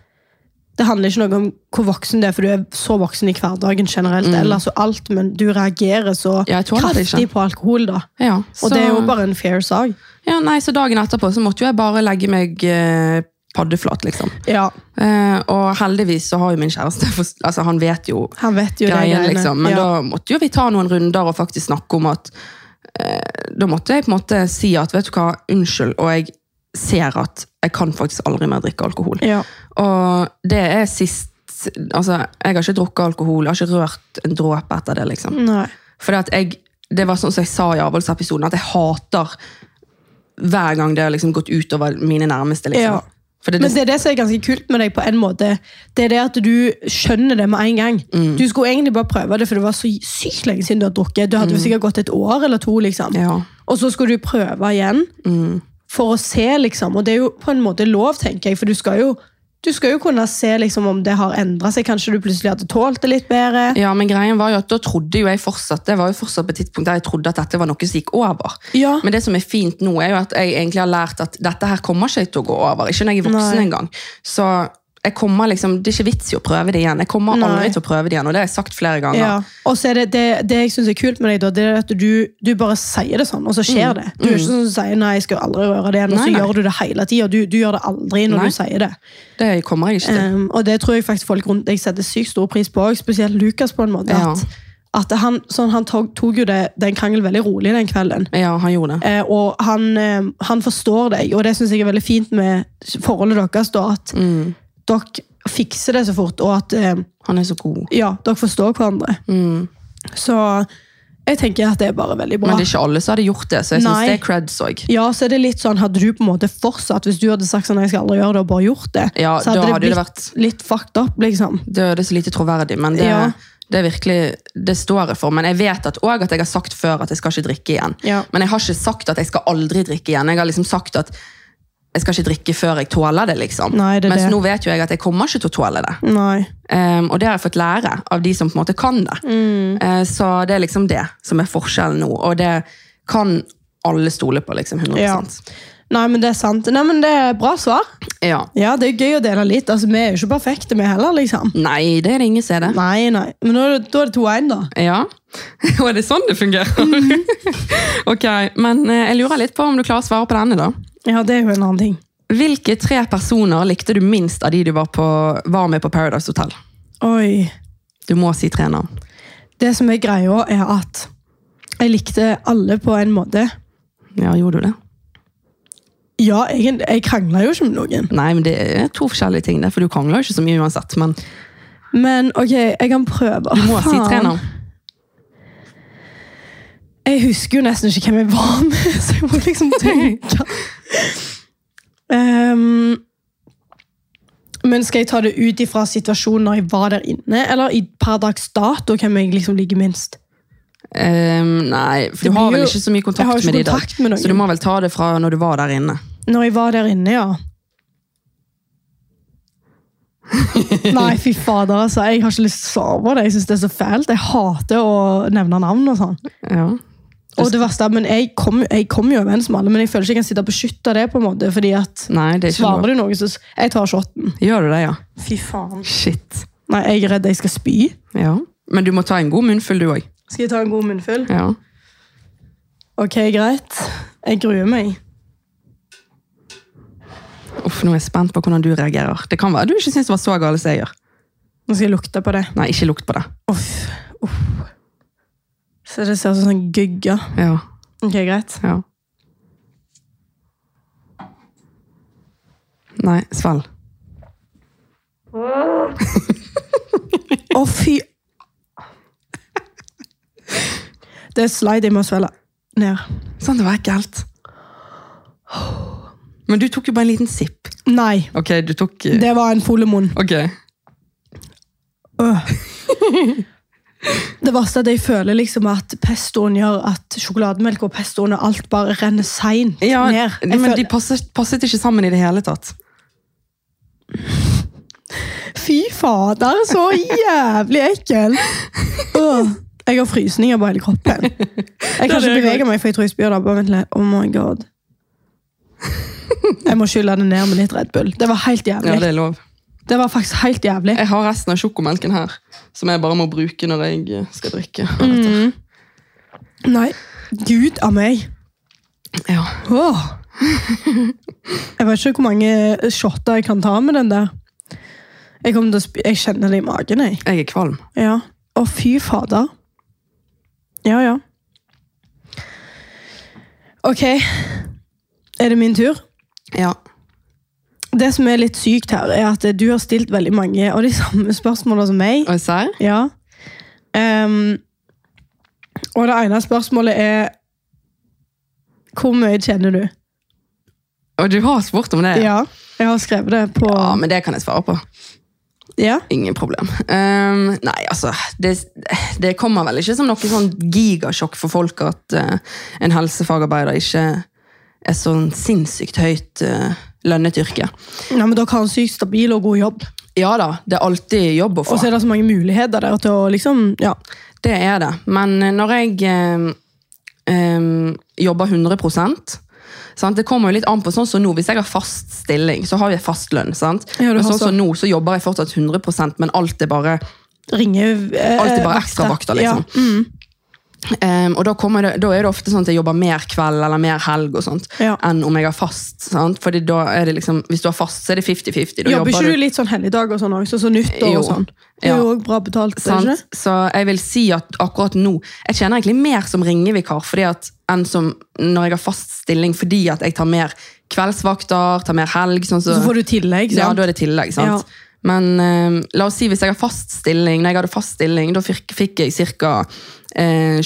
det handler ikke noe om hvor voksen du er, for du er så voksen i hverdagen generelt, ellers og alt, men du reagerer så
Mm. Ja, jeg tåler det liksom- ikke.
kraftig på alkohol da.
Ja,
Og det er jo bare en fair sak.
ja, nei, så dagen etterpå så måtte jo jeg bare legge meg eh, paddeflat, liksom.
Ja,
Eh, og heldigvis så har jo min kjæreste forst- altså, Han vet jo
han vet jo det.
greien,
greiene.
liksom. Men
ja.
da måtte jo vi ta noen runder og faktisk snakke om at eh, Da måtte jeg på en måte si at vet du hva, unnskyld, og jeg ser at jeg kan faktisk aldri mer drikke alkohol.
Ja.
Og det er sist Altså, jeg har ikke drukket alkohol, jeg har ikke rørt en dråpe etter det, liksom.
Nei.
Fordi at jeg, det var sånn som jeg sa i avholdsepisoden, at jeg hater hver gang det har liksom gått utover mine nærmeste, liksom.
Ja.
Fordi det,
Men det er det som er ganske kult med deg på en måte. Det er det at du skjønner det med en gang.
Mm.
Du skulle egentlig bare prøve det, for det var så sykt lenge siden du har drukket. Du hadde
Mm.
jo sikkert gått et år eller to, liksom.
ja.
Og så skal du prøve igjen
Mm.
for å se, liksom. Og det er jo på en måte lov, tenker jeg, for du skal jo, du skal jo kunne se liksom, om det har endra seg. Kanskje du plutselig hadde tålt det litt bedre.
Ja, men greien var jo at da trodde jo jeg fortsatt Det var jo fortsatt på et tidspunkt der jeg trodde at dette var noe som gikk over.
Ja.
Men det som er fint nå, er jo at jeg egentlig har lært at dette her kommer ikke til å gå over. Ikke når jeg er
Nei.
voksen engang. Så jeg kommer liksom, det er ikke vits i å prøve det igjen. Jeg kommer
Nei.
aldri til å prøve det igjen, og det har jeg sagt flere ganger.
Ja. Og så er det, det, det jeg syns er kult med deg, da, det er at du, du bare sier det sånn, og så skjer det. Du er ikke sånn som sier 'nei, jeg skal aldri røre det igjen', og
Mm. Nei,
så
nei.
gjør du det hele tida. Du, du gjør det aldri når
Nei.
du sier det.
Det kommer jeg ikke til.
Um, og det tror jeg faktisk folk rundt deg setter sykt stor pris på, og spesielt Lukas. på en måte.
Ja.
At, at han, sånn, han tok, tok jo det, den krangelen veldig rolig den kvelden.
Ja, han gjorde det.
Eh, og han, eh, han forstår deg, og det syns jeg er veldig fint med forholdet deres. Da, at
Mm.
dere fikser det så fort, og at eh,
Han er så god.
ja, dere forstår hverandre. Så jeg tenker at det er bare veldig bra.
Mm. Men det er ikke alle som hadde gjort det, så jeg syns
Nei.
det er creds òg.
Ja, så er det litt sånn, Hadde du på en måte fortsatt, hvis du hadde sagt sånn, jeg skal aldri gjøre det, og bare gjort det,
Ja,
så hadde
da
det
hadde det
blitt
vært-
litt fucked up. liksom.
Det det er så lite troverdig, men det,
Ja.
det er virkelig, det står jeg for. Men jeg vet at, også at jeg har sagt før at jeg skal ikke drikke igjen.
Ja.
Men jeg har ikke sagt at jeg skal aldri drikke igjen. Jeg har liksom sagt at jeg skal ikke drikke før jeg tåler det, liksom.
Nei, det er
Mens
det.
nå vet jo jeg at jeg kommer ikke til å tåle det.
Nei.
Ehm, og det har jeg fått lære av de som på en måte kan det.
Mm.
Eh, så det er liksom det som er forskjellen nå. Og det kan alle stole på, liksom. 100
Ja. Nei, men det er sant. Nei, men Det er bra svar.
Ja.
Ja, Det er gøy å dele litt. Altså, Vi er jo ikke perfekte, vi heller. liksom.
Nei, det er det ingen som er det.
Nei, nei. Men nå er det- da er det 2-1, da.
Ja. <laughs> Og er det sånn det
<laughs>
fungerer? ok, men eh, jeg lurer litt på om du klarer å svare på denne, da.
Ja, det er jo en annen ting.
Hvilke tre personer likte du minst av de du var, på, var med på Paradise Hotel?
Oi.
Du må si tre navn.
Det som er greia, er at jeg likte alle på en måte.
Ja, gjorde du det?
Ja, egentlig, jeg krangla jo ikke med noen.
Nei, men det er to forskjellige ting, det, for du krangler jo ikke så mye uansett. Men
Men ok, jeg kan prøve.
Du må si trener.
Jeg husker jo nesten ikke hvem jeg var med, <laughs> så jeg må liksom tenke. Ehm, men skal jeg ta det ut ifra situasjonen når jeg var der inne, eller i per dags dato hvem jeg liksom ligger minst?
Ehm, nei, for du
Det
har
blir
vel
jo-
ikke så mye
Jeg har
kontakt
jo
med de
ikke
i dag.
kontakt med noen.
Så du må vel ta det fra når du var der inne.
Når jeg var der inne, <laughs> ja. Nei, fy fader, altså. Jeg har ikke lyst til å svare på det. Jeg synes det er så fælt. Jeg hater å nevne navn og sånn.
Ja.
Og det verste, er, men jeg kom, jeg kom jo overens med alle, men jeg føler ikke jeg kan sitte og beskytte det, på en måte, fordi at
Nei, det er ikke
Svarer
lov.
du noe, så s- Jeg tar shotten.
Gjør du det, ja?
Fy faen.
Shit.
Nei, jeg er redd jeg skal spy.
Ja. Men du må ta en god munnfull, du òg.
Skal jeg ta en god munnfull?
Ja.
Ok, greit. Jeg gruer meg.
Uff, nå er jeg spent på hvordan du reagerer. Det kan være du ikke syns det var så gale som jeg gjør.
Nå skal jeg lukte på det.
Nei, ikke lukt på det.
Uff. Uff. Så det ser ut som sånn gugge.
Ja.
Ok, greit.
ja. Nei, svelg.
Å, fy Det er slide jeg må svelge ned.
Sånn, det var ekkelt. Men du tok jo bare en liten sipp.
Nei,
Ok, du tok eh,
det var en folemunn.
Ok.
Øh. Det verste er at jeg føler liksom at pestoen gjør at sjokolademelk og pestoen og alt bare renner seint
Ja,
ned. Jeg
men
føler,
de passet, passet ikke sammen i det hele tatt.
Fy fader, så jævlig ekkel! Øh. Jeg har frysninger på hele kroppen. Jeg
Det er
kan
det
ikke
jeg
bevege meg, for jeg tror jeg spyr. da. Bare Vent litt. Oh my god. Jeg må skylle det ned med litt Red Bull. Det var helt
Ja,
jævlig.
det er lov.
Det var faktisk helt jævlig.
Jeg har resten av sjokomelken her, som jeg bare må bruke når jeg eh, skal drikke. heretter.
Nei, gud av meg.
Ja.
Åh. Jeg vet ikke hvor mange shotter jeg kan ta med den der. Jeg, kommer til å spy jeg kjenner det i magen, jeg.
Jeg er kvalm.
Ja. Å, fy fader. Ja, ja. Ok. Er det min tur?
Ja.
Det som er litt sykt her, er at du har stilt veldig mange av de <laughs> samme spørsmålene som meg.
Og serr?
Ja. Ehm, og det ene spørsmålet er Hvor mye kjenner du?
Og du har spurt om det?
Ja. Jeg har skrevet det på
ja, men det kan jeg svare på.
Ja.
Ingen problem. Ehm, nei, altså, det, det kommer vel ikke som noe sånn gigasjokk for folk at eh, en helsefagarbeider ikke er sånn sinnssykt høyt eh, lønnet yrke.
Nei, men Dere har en sykt stabil og god jobb.
Ja da, det er alltid jobb å få.
Og så er det så mange muligheter der til å liksom Ja.
Det er det. Men eh, når jeg eh, eh, jobber 100 sant? Det kommer jo litt an på sånn som nå. Hvis jeg har fast stilling, så har jeg fast lønn. sant?
Ja, du
men
har
sånn som nå, så jobber jeg fortsatt 100 men alt er bare,
Ringe eh,
alt er bare
vakter.
ekstra vakter, liksom.
Ja. Mm.
Em, og da, kommer det, da er det ofte sånn at jeg jobber mer kveld eller mer helg og sånt,
Ja.
enn om jeg har fast. sant? Fordi da er det liksom, Hvis du har fast, så er det 50-50. Da
Jobber ikke du litt sånn helligdager og sånn også, sånn nyttår
Jo.
og sånn? Det er
Ja.
jo også bra betalt, er det ikke
Sant?
det?
Så jeg vil si at akkurat nå Jeg tjener egentlig mer som ringevikar fordi at, enn som når jeg har fast stilling, fordi at jeg tar mer kveldsvakter, tar mer helg. Sånn så,
Så får du tillegg,
ja,
sant?
da er det tillegg, sant?
Ja.
Men eh, la oss si hvis jeg har fast stilling, når jeg hadde fast stilling, da fikk, fikk jeg ca. 24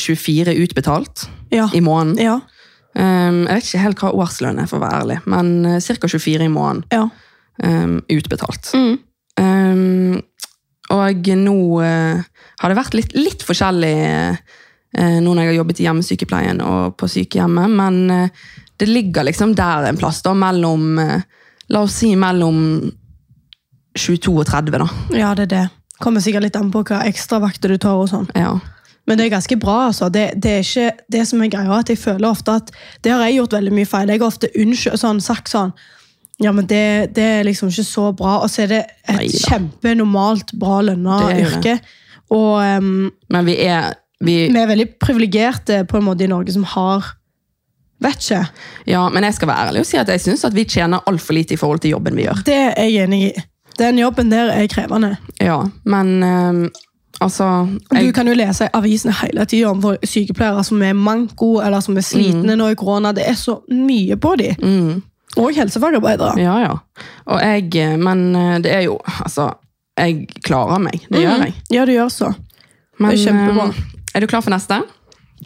utbetalt
Ja.
i måneden.
Ja.
Em, jeg vet ikke helt hva årslønn er, for å være ærlig, men uh, ca. 24 i måneden
ja.
em, ehm, utbetalt.
Mm.
Ehm, og nå eh, har det vært litt, litt forskjellig eh, nå når jeg har jobbet i hjemmesykepleien og på sykehjemmet, men eh, det ligger liksom der en plass, da, mellom eh, La oss si mellom 22 og 30, da.
ja, det er det. Kommer sikkert litt an på hva ekstravakter du tar og sånn.
Ja.
Men det er ganske bra, altså. Det, det er ikke det som er greia, at jeg føler ofte at Det har jeg gjort veldig mye feil. Jeg har ofte unnskyld, sånn, sagt sånn Ja, men det, det er liksom ikke så bra. Og så er det et
Neida.
kjempenormalt bra lønna
Det er jo
yrke. Og em,
Men vi er vi,
vi er veldig privilegerte på en måte i Norge som har Vet ikke.
Ja, men jeg skal være ærlig og si at jeg syns at vi tjener altfor lite i forhold til jobben vi gjør.
Det er jeg enig i. Den jobben der er krevende.
Ja, men eh, altså
Du
jeg,
kan jo lese i avisene hele tida om hvor sykepleiere som er manko, eller som er slitne nå i korona. Det er så mye på de.
mm,
Og helsefagarbeidere.
eh, Ja, ja. Og jeg, men eh, det er jo, altså, jeg klarer meg. Det gjør jeg.
Ja, du gjør så.
Men,
Mm. Det er kjempebra.
eh, Er du klar for neste?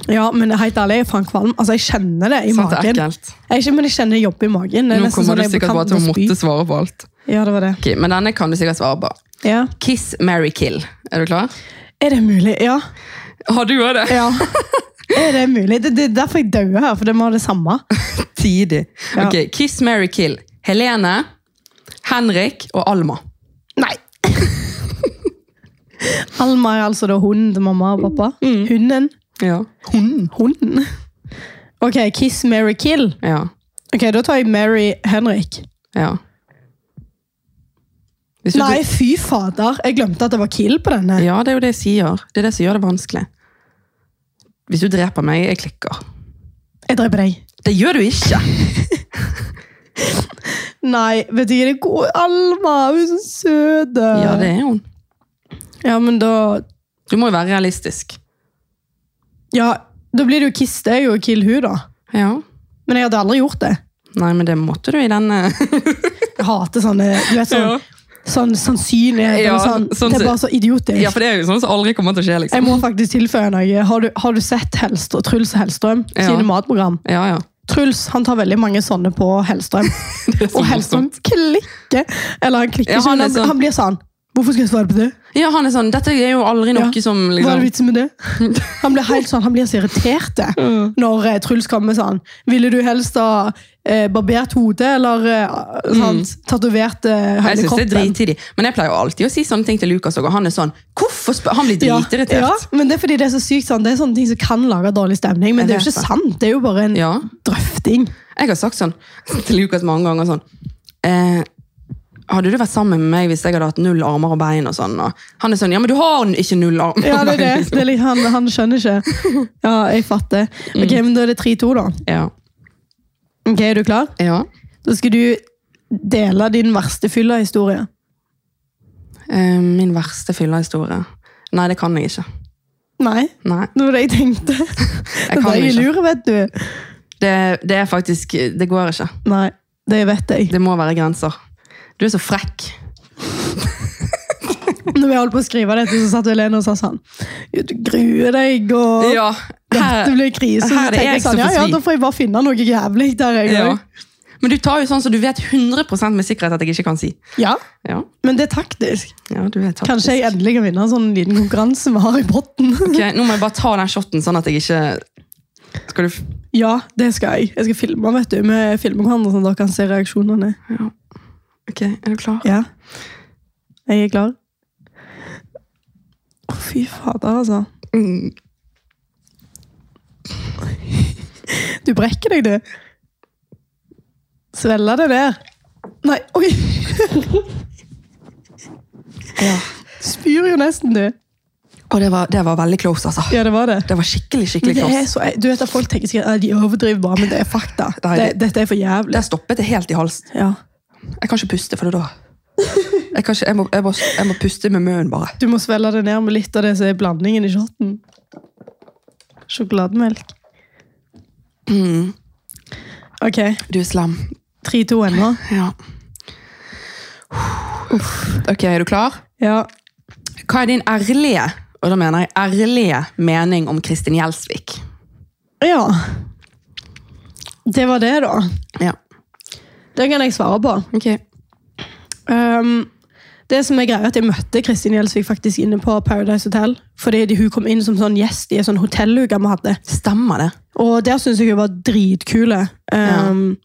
Ja, men det er helt ærlig, jeg er faen kvalm. Altså, jeg kjenner det i
Sant, Sånn det er
magen.
ekkelt.
Jeg er ikke, men jeg kjenner det jobber i magen. Det er
Nå
nesten
kommer
sånn
du
jeg
sikkert
kan
bare til å
spy.
måtte svare på alt.
Ja, det var det.
Ok, men denne kan du sikkert svare på.
Ja.
Kiss, marry, kill. Er du klar?
Er det mulig? Ja.
Har du òg det?
ja. <laughs> Er det mulig? Det, det er derfor jeg dauer her, for det må ha det samme.
Tidig.
Ja.
Ok, Kiss, marry, kill. Helene, Henrik og Alma.
Nei. <laughs> Alma er altså da hunden til mamma og pappa.
Mm.
Hunden.
Ja.
Hunden. Ok, kiss, marry, kill.
Ja.
Ok, da tar jeg Mary Henrik.
ja. Hvis du-
Nei, fy fader. Jeg glemte at det var kill på denne.
Ja, det er jo det jeg sier. Det er det som gjør det vanskelig. Hvis du dreper meg, jeg klikker.
Jeg dreper deg.
Det gjør du ikke!
Nei, vet du, det er god Alma. Hun er så søt.
Ja, det er hun.
Ja, men da
Du må jo være realistisk.
Ja, da blir det jo kiss deg og kill hun, da.
Ja.
Men jeg hadde aldri gjort det.
Nei, men det måtte du i denne.
Jeg hater sånne du vet, sånn,
Ja.
sånn sannsynlighet.
Ja,
eller sånn,
sånn
det
se-
er bare så idiotisk.
ja, for det er jo sånn som aldri kommer til å skje,
Jeg
liksom.
må faktisk tilføye noe. Har du, har du sett Helst og Truls Hellstrøm
Ja.
sine matprogram?
Ja, ja.
Truls han tar veldig mange sånne
<laughs>
på Hellstrøm.
Det er så
Og Hellstrøm
morsomt.
klikker. Eller han klikker
Ja,
ikke,
han
men
er
han,
sånn-
han blir sånn. Hvorfor skal jeg svare på det?
Ja, han er sånn Dette er jo aldri noe
Ja.
som
Hva
liksom
er vitsen med
<laughs>
det? Han blir helt sånn, han blir så irritert det,
Mm.
når eh, Truls kommer med sånn. Ville du helst ha eh, barbert hodet eller eh, sant, tatovert eh,
Mm. Jeg synes
hele
det er
kroppen?
drittidig. Men jeg pleier jo alltid å si sånne ting til Lukas òg, og han er sånn Hvorfor spør Han blir
Ja,
dritirritert.
ja, men det er fordi det er så sykt sånn. Det er sånne ting som kan lage dårlig stemning, men
Jeg
det er jo
vet
ikke
det.
sant. Det er jo bare en
Ja.
drøfting.
Jeg har sagt sånn <laughs> til Lukas mange ganger sånn eh, Hadde du vært sammen med meg hvis jeg hadde hatt null armer og bein? og sånn, og Han er sånn Ja, men du har ikke null armer
Ja,
og
det er
<laughs> bein.
det. det er litt, han, han skjønner ikke. Ja, jeg fatter. Ok,
Mm.
men da er det 3-2 da.
Ja.
Ok, er du klar?
ja.
Da skal du dele din verste fylla historie.
Eh, min verste fyllehistorie Nei, det kan jeg ikke.
Nei,
Nei,
det var det jeg tenkte.
jeg
<laughs> det
kan
er jeg
ikke.
lurer, vet du.
Det, det er faktisk Det går ikke.
Nei, det vet jeg.
Det må være grenser. Du er så frekk.
Når vi holdt på å skrive dette, så satt Helene og sa sånn «Jo, Du gruer deg, og
Ja.
dette
Her,
blir krise. Så
her er det
tenker
jeg som
sånn, ja,
får
ja,
svi».
da får jeg bare finne noe jævlig der. Jeg,
ja.
ja.
Men du tar jo sånn som du vet 100 med sikkerhet at jeg ikke kan si.
ja,
Ja,
men det er taktisk.
ja du er taktisk.
Kanskje jeg endelig kan vinne en sånn liten konkurranse vi har i potten.
Ok, Nå må jeg bare ta den shotten, sånn at jeg ikke Skal du f-
ja, det skal jeg. Jeg skal filme, vet du. Vi filmer hverandre sånn at dere kan se reaksjonene.
Ok, er du klar?
Ja. Jeg er klar. Å, fy fader, altså.
Mm.
Du brekker deg, du. Svelger det der. Nei, oi!
Ja.
Spyr jo nesten, du.
Og det var, det var veldig close, altså.
Ja, det var det.
Det var skikkelig,
Men
skikkelig
det er
close.
så, du vet at Folk tenker sikkert at de overdriver bare, men det er fakta.
Nei,
Det,
det-
dette er for jævlig.
Der stoppet det helt i halsen.
Ja.
Jeg kan ikke puste for det
<laughs>
da. Jeg, kan ikke, jeg, må, jeg, må, jeg må puste med munnen bare.
Du må svelge det ned med litt av det som er blandingen i shoten. Sjokolademelk. Ok,
Du er slem.
3-2 ennå.
Ja. Ok, er du klar?
Ja.
Hva er din ærlige, og da mener jeg ærlige, mening om Kristin Gjelsvik?
ja. Det var det, da.
Ja.
Det kan jeg svare på.
Ok.
Um, det som er greia er at Jeg møtte Kristin Gjelsvik faktisk inne på Paradise Hotel. Fordi de- hun kom inn som sånn gjest i en sånn hotelluke vi hadde.
Stemmer det?
Og der syns jeg hun var dritkule. Um,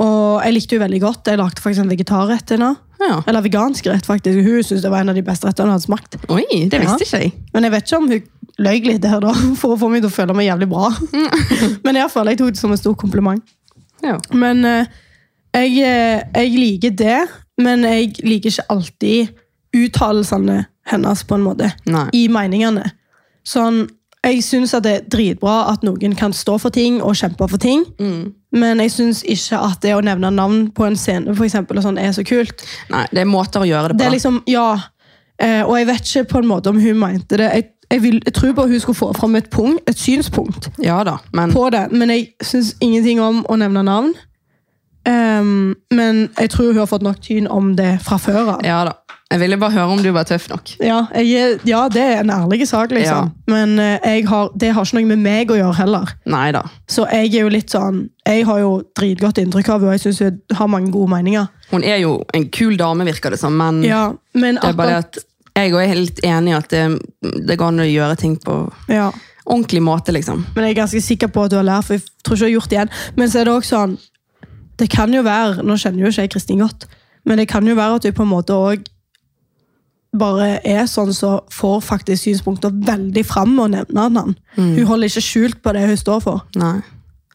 Og jeg likte hun veldig godt. Jeg lagde faktisk en vegetarrett til henne.
Ja.
Eller vegansk rett, faktisk. Hun syntes det var en av de beste rettene hun hadde smakt.
Oi, det visste ikke jeg.
Men jeg vet ikke om hun løy litt her, da, <laughs> for å få meg til å føle meg jævlig bra. <laughs> Men i hvert fall, jeg tok det som en stor kompliment.
Ja.
Men eh, jeg, eh, jeg liker det, men jeg liker ikke alltid uttalelsene hennes, på en måte.
Nei.
I meningene. Sånn, jeg syns det er dritbra at noen kan stå for ting og kjempe for ting, men jeg syns ikke at det å nevne navn på en scene for eksempel, og sånn, er så kult.
Nei, det er måter å gjøre det på.
Det er liksom, ja. Eh, og jeg vet ikke på en måte om hun mente det. Jeg, jeg, vil, jeg tror bare hun skulle få fram et, punkt, et synspunkt
Ja da, men
liksom på det, men jeg syns ingenting om å nevne navn. Ehm, men jeg tror hun har fått nok tyn om det fra før av.
Ja da. Jeg ville bare høre om du var tøff nok.
Ja, jeg, er- ja det er en ærlig sak, liksom. Men eh, jeg har, det har ikke noe med meg å gjøre heller.
Nei da.
Så jeg er jo litt sånn Jeg har jo dritgodt inntrykk av henne, og jeg syns hun har mange gode meninger.
Hun er jo en kul dame, virker det som, men
Ja, men
Mm. det er bare det
akkurat
at jeg er helt enig i at det, det går an å gjøre ting på
ja.
ordentlig måte, liksom.
Men jeg er ganske sikker på at du har lært, for jeg tror ikke jeg har gjort det igjen. Men så er det også sånn Det kan jo være Nå kjenner jo ikke jeg Kristin godt, men det kan jo være at du på en måte òg bare er sånn som får faktisk synspunkter veldig fram med å nevne han. Hun holder ikke skjult på det hun står for.
Nei.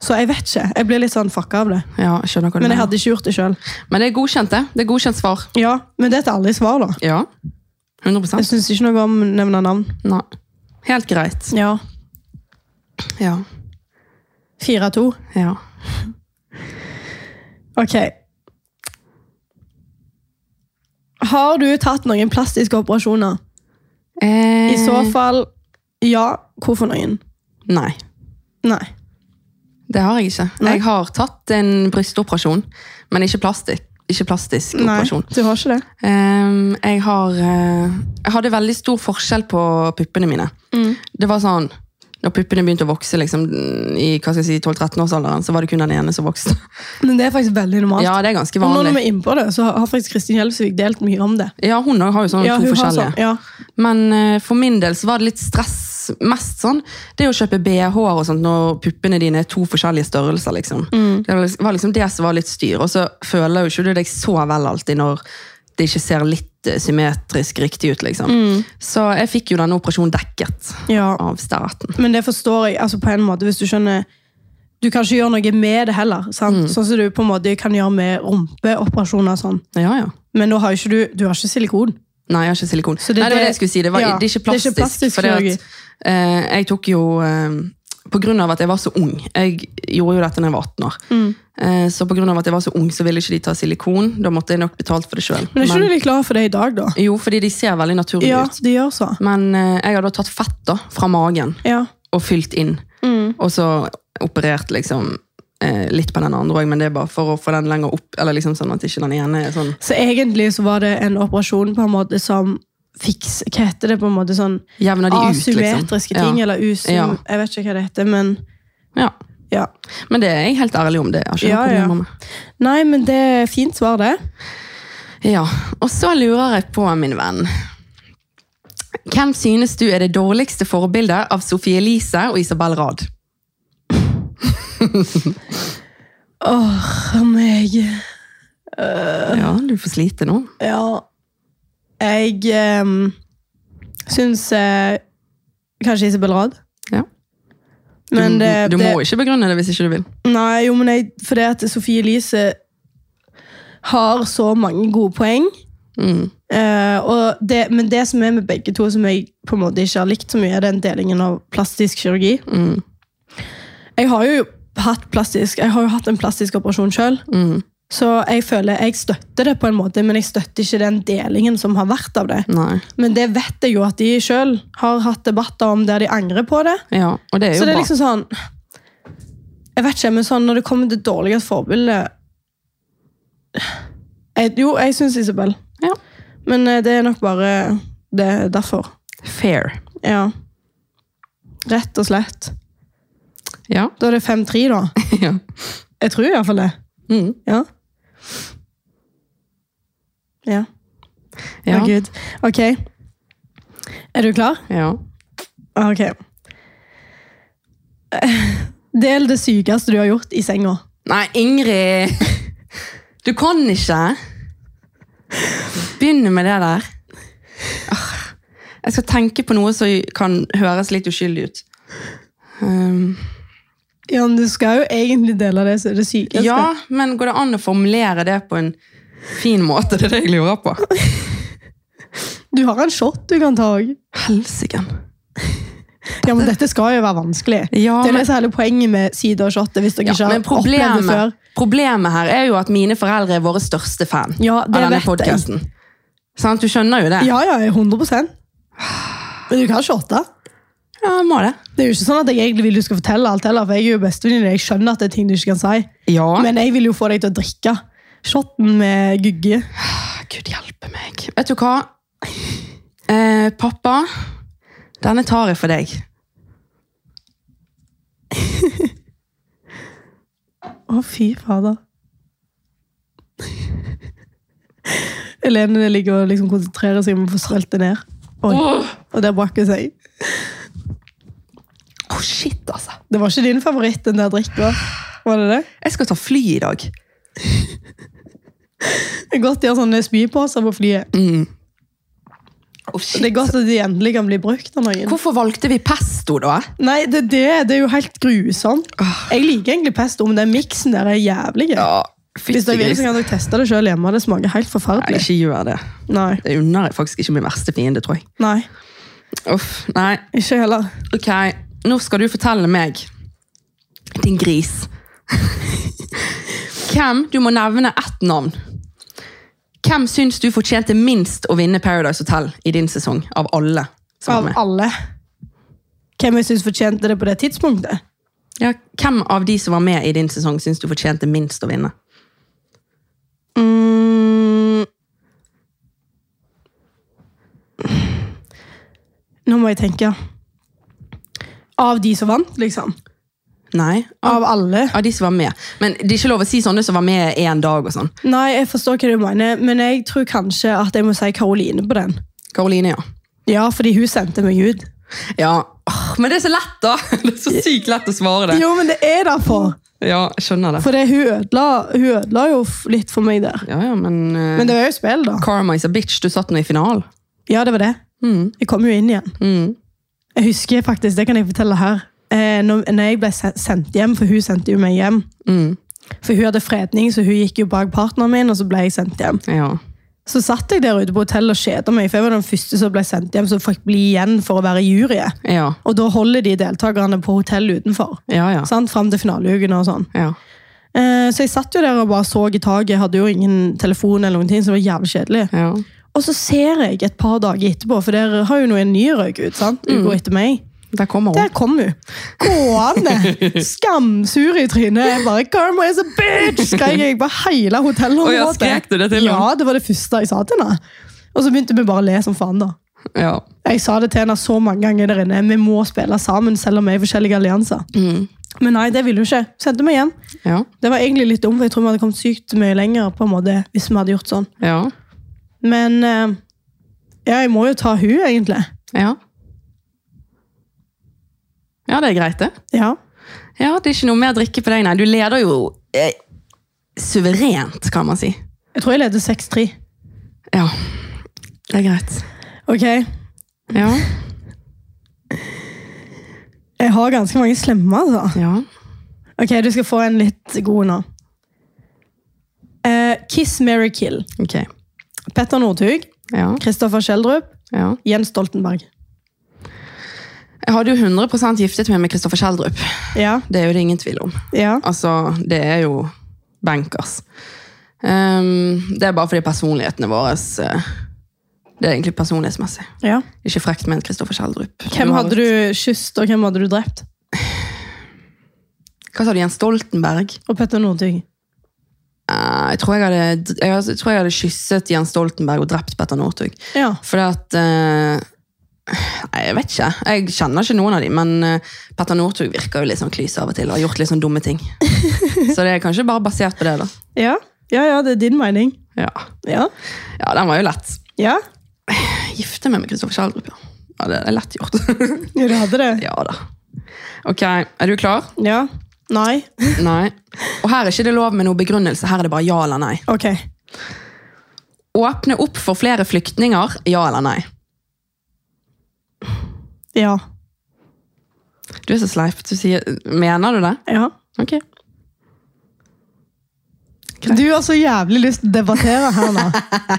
Så jeg vet ikke. Jeg blir litt sånn fucka av det.
Ja, jeg skjønner hva du
Men jeg
mener.
hadde ikke gjort det sjøl.
Men det er godkjent, det. Det er godkjent svar.
Ja, men det er et ærlig svar, da.
Ja. 100
Jeg syns ikke noe om å nevne navn.
Nei. Helt greit.
Ja.
Ja.
4-2.
Ja.
Ok. Har du tatt noen plastiske operasjoner?
Eh,
I så fall, ja. Hvorfor noen?
Nei.
Nei.
Det har jeg ikke.
Nei.
Jeg har tatt en brystoperasjon, men ikke plastikk. Ikke plastisk
Nei,
operasjon.
du har ikke det?
Ehm, jeg har eh, Jeg hadde veldig stor forskjell på puppene mine.
Mm.
Det var sånn når puppene begynte å vokse liksom, i hva skal jeg si, 12-13-årsalderen, så var det kun den ene som vokste.
Men det er faktisk veldig normalt.
Ja, det er ganske
Og nå når vi
vanlig.
er inne på det, så har faktisk Kristin Hjelvsvik delt mye om det.
Ja, Hun også har jo sånn
Ja,
to
hun har
forskjellige.
sånn, ja.
Men eh, for min del så var det litt stress mest sånn. Det å kjøpe BH-er og sånt når puppene dine er to forskjellige størrelser, liksom. Det var liksom- var liksom det som var litt styr. Og så føler jo ikke du deg så vel alltid når det ikke ser litt eh, symmetrisk riktig ut, liksom. Så jeg fikk jo denne operasjonen dekket
ja.
av staten.
Men det forstår jeg altså på en måte, hvis du skjønner Du kan ikke gjøre noe med det heller. Sant? Sånn som du på en måte kan gjøre med rumpeoperasjoner. og Sånn.
Ja, ja.
Men nå har jo ikke du, du har ikke silikon.
Nei, jeg har ikke silikon.
det
Nei, det var
det-
det jeg skulle si. Det, var,
ja,
det er ikke
det er ikke
plastisk.
plastisk
fordi
kirurgi.
at, eh, jeg tok jo eh, På grunn av at jeg var så ung Jeg gjorde jo dette da jeg var 18 år.
Mm.
Eh, så på grunn av at jeg var så ung, så ville ikke de ta silikon. Da måtte jeg nok betalt for det sjøl.
Men er ikke du litt glad for det i dag, da?
Jo, fordi de ser veldig naturlige
Ja,
ut.
de gjør så.
Men eh, jeg har da tatt fett da, fra magen
Ja.
og fylt inn.
Mm.
Og så operert liksom eh, litt på den andre òg, men det er bare for å få den lenger opp. Eller liksom sånn at ikke den ene er sånn
Så egentlig så var det en operasjon på en måte som fiks... Hva heter det på en måte? Sånn
Jevner de ut, liksom.
asymmetriske ting,
Ja.
eller usym...
Ja.
Jeg vet ikke hva det heter, men
ja.
ja.
Men det er jeg helt ærlig om. det. Jeg har ikke
Ja,
noe
ja.
problemer med.
Nei, men det er fint svar, det.
Ja, og så lurer jeg på, min venn. Hvem synes du er det dårligste forbildet av Sofie Elise og Isabel Rad?
Åh, meg.
Ja, du får slite nå.
Ja. Jeg um, syns eh, kanskje Isabel Rad.
Ja. Du,
Men
du
det, Eh, det,
må ikke begrunne det hvis ikke du vil.
Nei, jo, men jeg, fordi at Sofie Elise har så mange gode poeng.
Mm.
Eh, og det, men det som er med begge to, som jeg på en måte ikke har likt så mye, er den delingen av plastisk kirurgi.
Mm.
Jeg har jo hatt plastisk, jeg har jo hatt en plastisk operasjon sjøl,
Mm.
så jeg føler jeg støtter det på en måte, men jeg støtter ikke den delingen som har vært av det.
Nei.
Men det vet jeg jo at de sjøl har hatt debatter om der de angrer på det.
Ja, og det er jo
Så det er
bra.
liksom sånn Jeg vet ikke, men sånn når det kommer til dårligst forbilde jeg, Jo, jeg syns Isabel.
Ja.
Men eh, det er nok bare det er derfor.
Fair. <laughs>
Ja. Rett og slett.
Ja.
Da er det 5-3, da.
ja.
Jeg tror iallfall det.
Mm.
Ja. Ja.
Ja.
Å, Gud. Ok. Er du klar?
ja.
Ok. <laughs> Del det sykeste du har gjort i senga.
Nei, Ingrid! Du kan ikke! Begynne med det der. Ah, Jeg skal tenke på noe som kan høres litt uskyldig ut. Um,
Ja, men du skal jo egentlig dele det, så er det sykeste.
Ja, men går det an å formulere det på en fin måte? Det er det jeg lurer på.
Du har en shot du kan ta òg.
Helsiken.
Ja, men dette skal jo være vanskelig.
Ja,
det er
men-
det som er hele poenget med side og shot. Hvis dere
Ja,
ikke har
men
opplevd det før.
problemet, problemet her er jo at mine foreldre er våre største fan
Ja,
av
det
denne
vet jeg.
podkasten. Du skjønner jo det?
Ja, ja, 100 Men du kan shotte.
Ja, jeg må det.
Det er jo ikke sånn at jeg egentlig vil du skal fortelle alt heller, for jeg er jo bestevenninne. Jeg skjønner at det er ting du ikke kan si.
Ja.
Men jeg vil jo få deg til å drikke. Shotten med Gugge.
Gud hjelpe meg. Vet du hva? Eh, pappa, denne tar jeg for deg.
Å, fy fader. Helene ligger og liksom konsentrerer seg om å få strølt det ned. Oi.
Åh,
Og der brakk hun seg.
Åh, shit, altså.
Det var ikke din favoritt, den der drikka. Var det det?
Jeg skal ta fly i dag.
Det er godt de har sånne spyposer på flyet.
Mm. Åh, shit.
Det er godt at de endelig kan bli brukt av noen.
Hvorfor valgte vi pesto, da?
Nei, det er det. Det er jo helt grusomt. Jeg liker egentlig pesto, men den miksen der er jævlig. gøy.
Ja,
Hvis dere vil, så kan dere teste det selv hjemme. Det smaker helt
Nei,
forferdelig.
ikke gjør det.
Nei.
Det unner jeg faktisk ikke min verste fiende, tror jeg.
Nei.
Uff, nei.
Ikke heller.
Ok, nå skal du fortelle meg, din gris. <laughs> Hvem, du må nevne ett navn. Hvem syns du fortjente minst å vinne Paradise Hotel i din sesong, av alle som var
Av
med?
alle. Hvem jeg syns fortjente det på det tidspunktet?
Ja, hvem av de som var med i din sesong, syns du fortjente minst å vinne?
Mm. Nå må jeg tenke. Av de som vant, liksom.
Nei, av,
Av alle.
av de som var med. Men det er ikke lov å si sånne som var med én dag og sånn.
Nei, jeg forstår hva du mener, men jeg tror kanskje at jeg må si Karoline på den.
Karoline, ja.
Ja, fordi hun sendte meg ut.
Ja, Åh, Men det er så lett, da! <laughs> Det er så sykt lett å svare det.
Jo, men det er derfor!
Ja, jeg skjønner det.
For det, hun, ødela, hun ødela jo f- litt for meg der.
Ja, ja, men, eh,
Men det var jo spill, da.
Karma is a bitch. Du satt nå i finalen.
Ja, det var det. Jeg kom jo inn igjen.
Mm.
Jeg husker faktisk, det kan jeg fortelle her. Eh, når, når jeg ble se- sendt hjem, for hun sendte jo meg hjem.
Mm.
For hun hadde fredning, så hun gikk jo bak partneren min, og så ble jeg sendt hjem.
Ja.
Så satt jeg der ute på hotellet og kjeda meg, for jeg var den første som ble sendt hjem, så fikk bli igjen for å være i juryet.
Ja.
Og da holder de deltakerne på hotellet utenfor.
Ja, ja.
Sant? Fram til finaleuken og sånn.
ja.
Eh, så jeg satt jo der og bare så i taket, hadde jo ingen telefon eller noen ting, så det var jævlig kjedelig.
ja.
Og så ser jeg et par dager etterpå, for der har jo noen ny røyk ut, sant?
Mm.
Hun går etter meg.
Der kommer
Der
hun.
kom hun. Gående. Skamsur i trynet. Jeg bare 'Karma is a bitch!' skrek jeg på hele
Oi, ja,
hotellområdet.
skrek du det til henne?
Ja, det var det første jeg sa til henne. Og så begynte vi bare å le som faen, da.
Ja.
Jeg sa det til henne så mange ganger der inne. Vi må spille sammen, selv om vi er i forskjellige allianser.
Mm.
Men nei, det ville hun ikke. Sendte meg hjem.
Ja.
Det var egentlig litt dumt, for jeg tror vi hadde kommet sykt mye lenger på en måte, hvis vi hadde gjort sånn.
Ja.
Men eh, ja, jeg må jo ta hun egentlig.
Ja. Ja, det er greit, det.
Ja.
Ja, Det er ikke noe mer drikke på deg, nei. Du leder jo eh, suverent, kan man si.
Jeg tror jeg leder 6-3.
Ja. Det er greit.
Ok,
Ja.
Jeg har ganske mange slemme, altså.
Ja.
Ok, du skal få en litt god nå. Eh, Kiss, Mary kill.
Ok.
Petter Northug,
Ja.
Kristoffer Schjelderup,
ja.
Jens Stoltenberg.
Jeg hadde jo 100 giftet meg med Kristoffer Schjelderup.
Ja,
Det er jo det ingen tvil om.
ja.
Altså, det er jo bankers. Ehm, det er bare fordi personlighetene våre eh, Det er egentlig personlighetsmessig.
ja.
Ikke frekt med en Kristoffer Schjelderup.
Hvem hadde du kysst, og hvem hadde du drept?
Hva sa du, Jens Stoltenberg?
Og Petter Northug.
Eh, jeg, tror jeg, hadde, jeg, hadde- jeg tror jeg hadde kysset Jens Stoltenberg og drept Petter Northug.
Ja.
Fordi at eh, Nei, jeg vet ikke. Jeg kjenner ikke noen av dem, men eh, Petter Northug virker jo litt sånn klyse av og til og har gjort litt sånn dumme ting. Så det er kanskje bare basert på det, da.
ja. Ja, ja, det er din mening.
Ja,
Ja.
ja den var jo lett.
Ja,
Gifte meg med Kristoffer Schjelderup, ja. ja. Det er lett gjort. <laughs>
ja du hadde det.
ja da. Ok, er du klar?
Ja. Nei.
Nei. Og her er ikke det lov med noen begrunnelse, her er det bare ja eller nei.
Ok.
Åpne opp for flere flyktninger, ja eller nei?
Ja.
Du er så sleip, du sier Mener du det?
Ja.
Ok.
Du har så jævlig lyst til å debattere her <laughs> nå.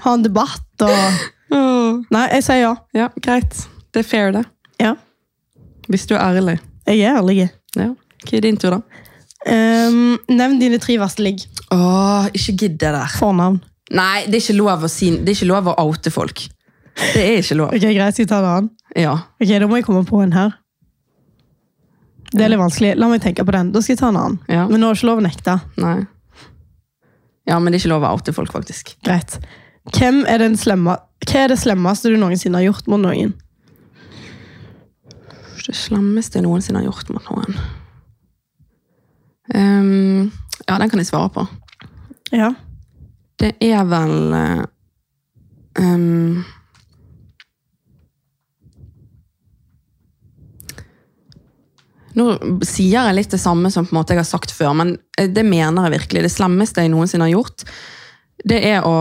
Ha en debatt og... Nei, jeg sier ja.
Ja, greit. Det er fair, det.
Ja.
Hvis du er ærlig.
Jeg er ærlig.
Ja. Hva er din tur, da?
Ehm, nevn dine tre verste ligg.
Åh, ikke gidd det der.
Fornavn.
Nei, det er ikke lov å, si, det er ikke lov å oute folk. Det er ikke lov.
Ok, Greit, skal jeg ta en annen?
Ja.
Ok, Da må jeg komme på en her. Det er litt vanskelig. La meg tenke på den. Da skal jeg ta en annen.
Ja.
Men nå er det ikke lov å nekte.
Nei. Ja, men det er ikke lov å oute folk, faktisk.
Greit. Hvem er den slemme, hva er det slemmeste du noensinne har gjort mot noen?
Det slemmeste jeg noensinne har gjort mot noen. Ehm, ja, den kan jeg svare på.
Ja.
Det er vel eh, ehm, Nå sier jeg litt det samme som på en måte jeg har sagt før, men eh, det mener jeg virkelig. Det slemmeste jeg noensinne har gjort, det er å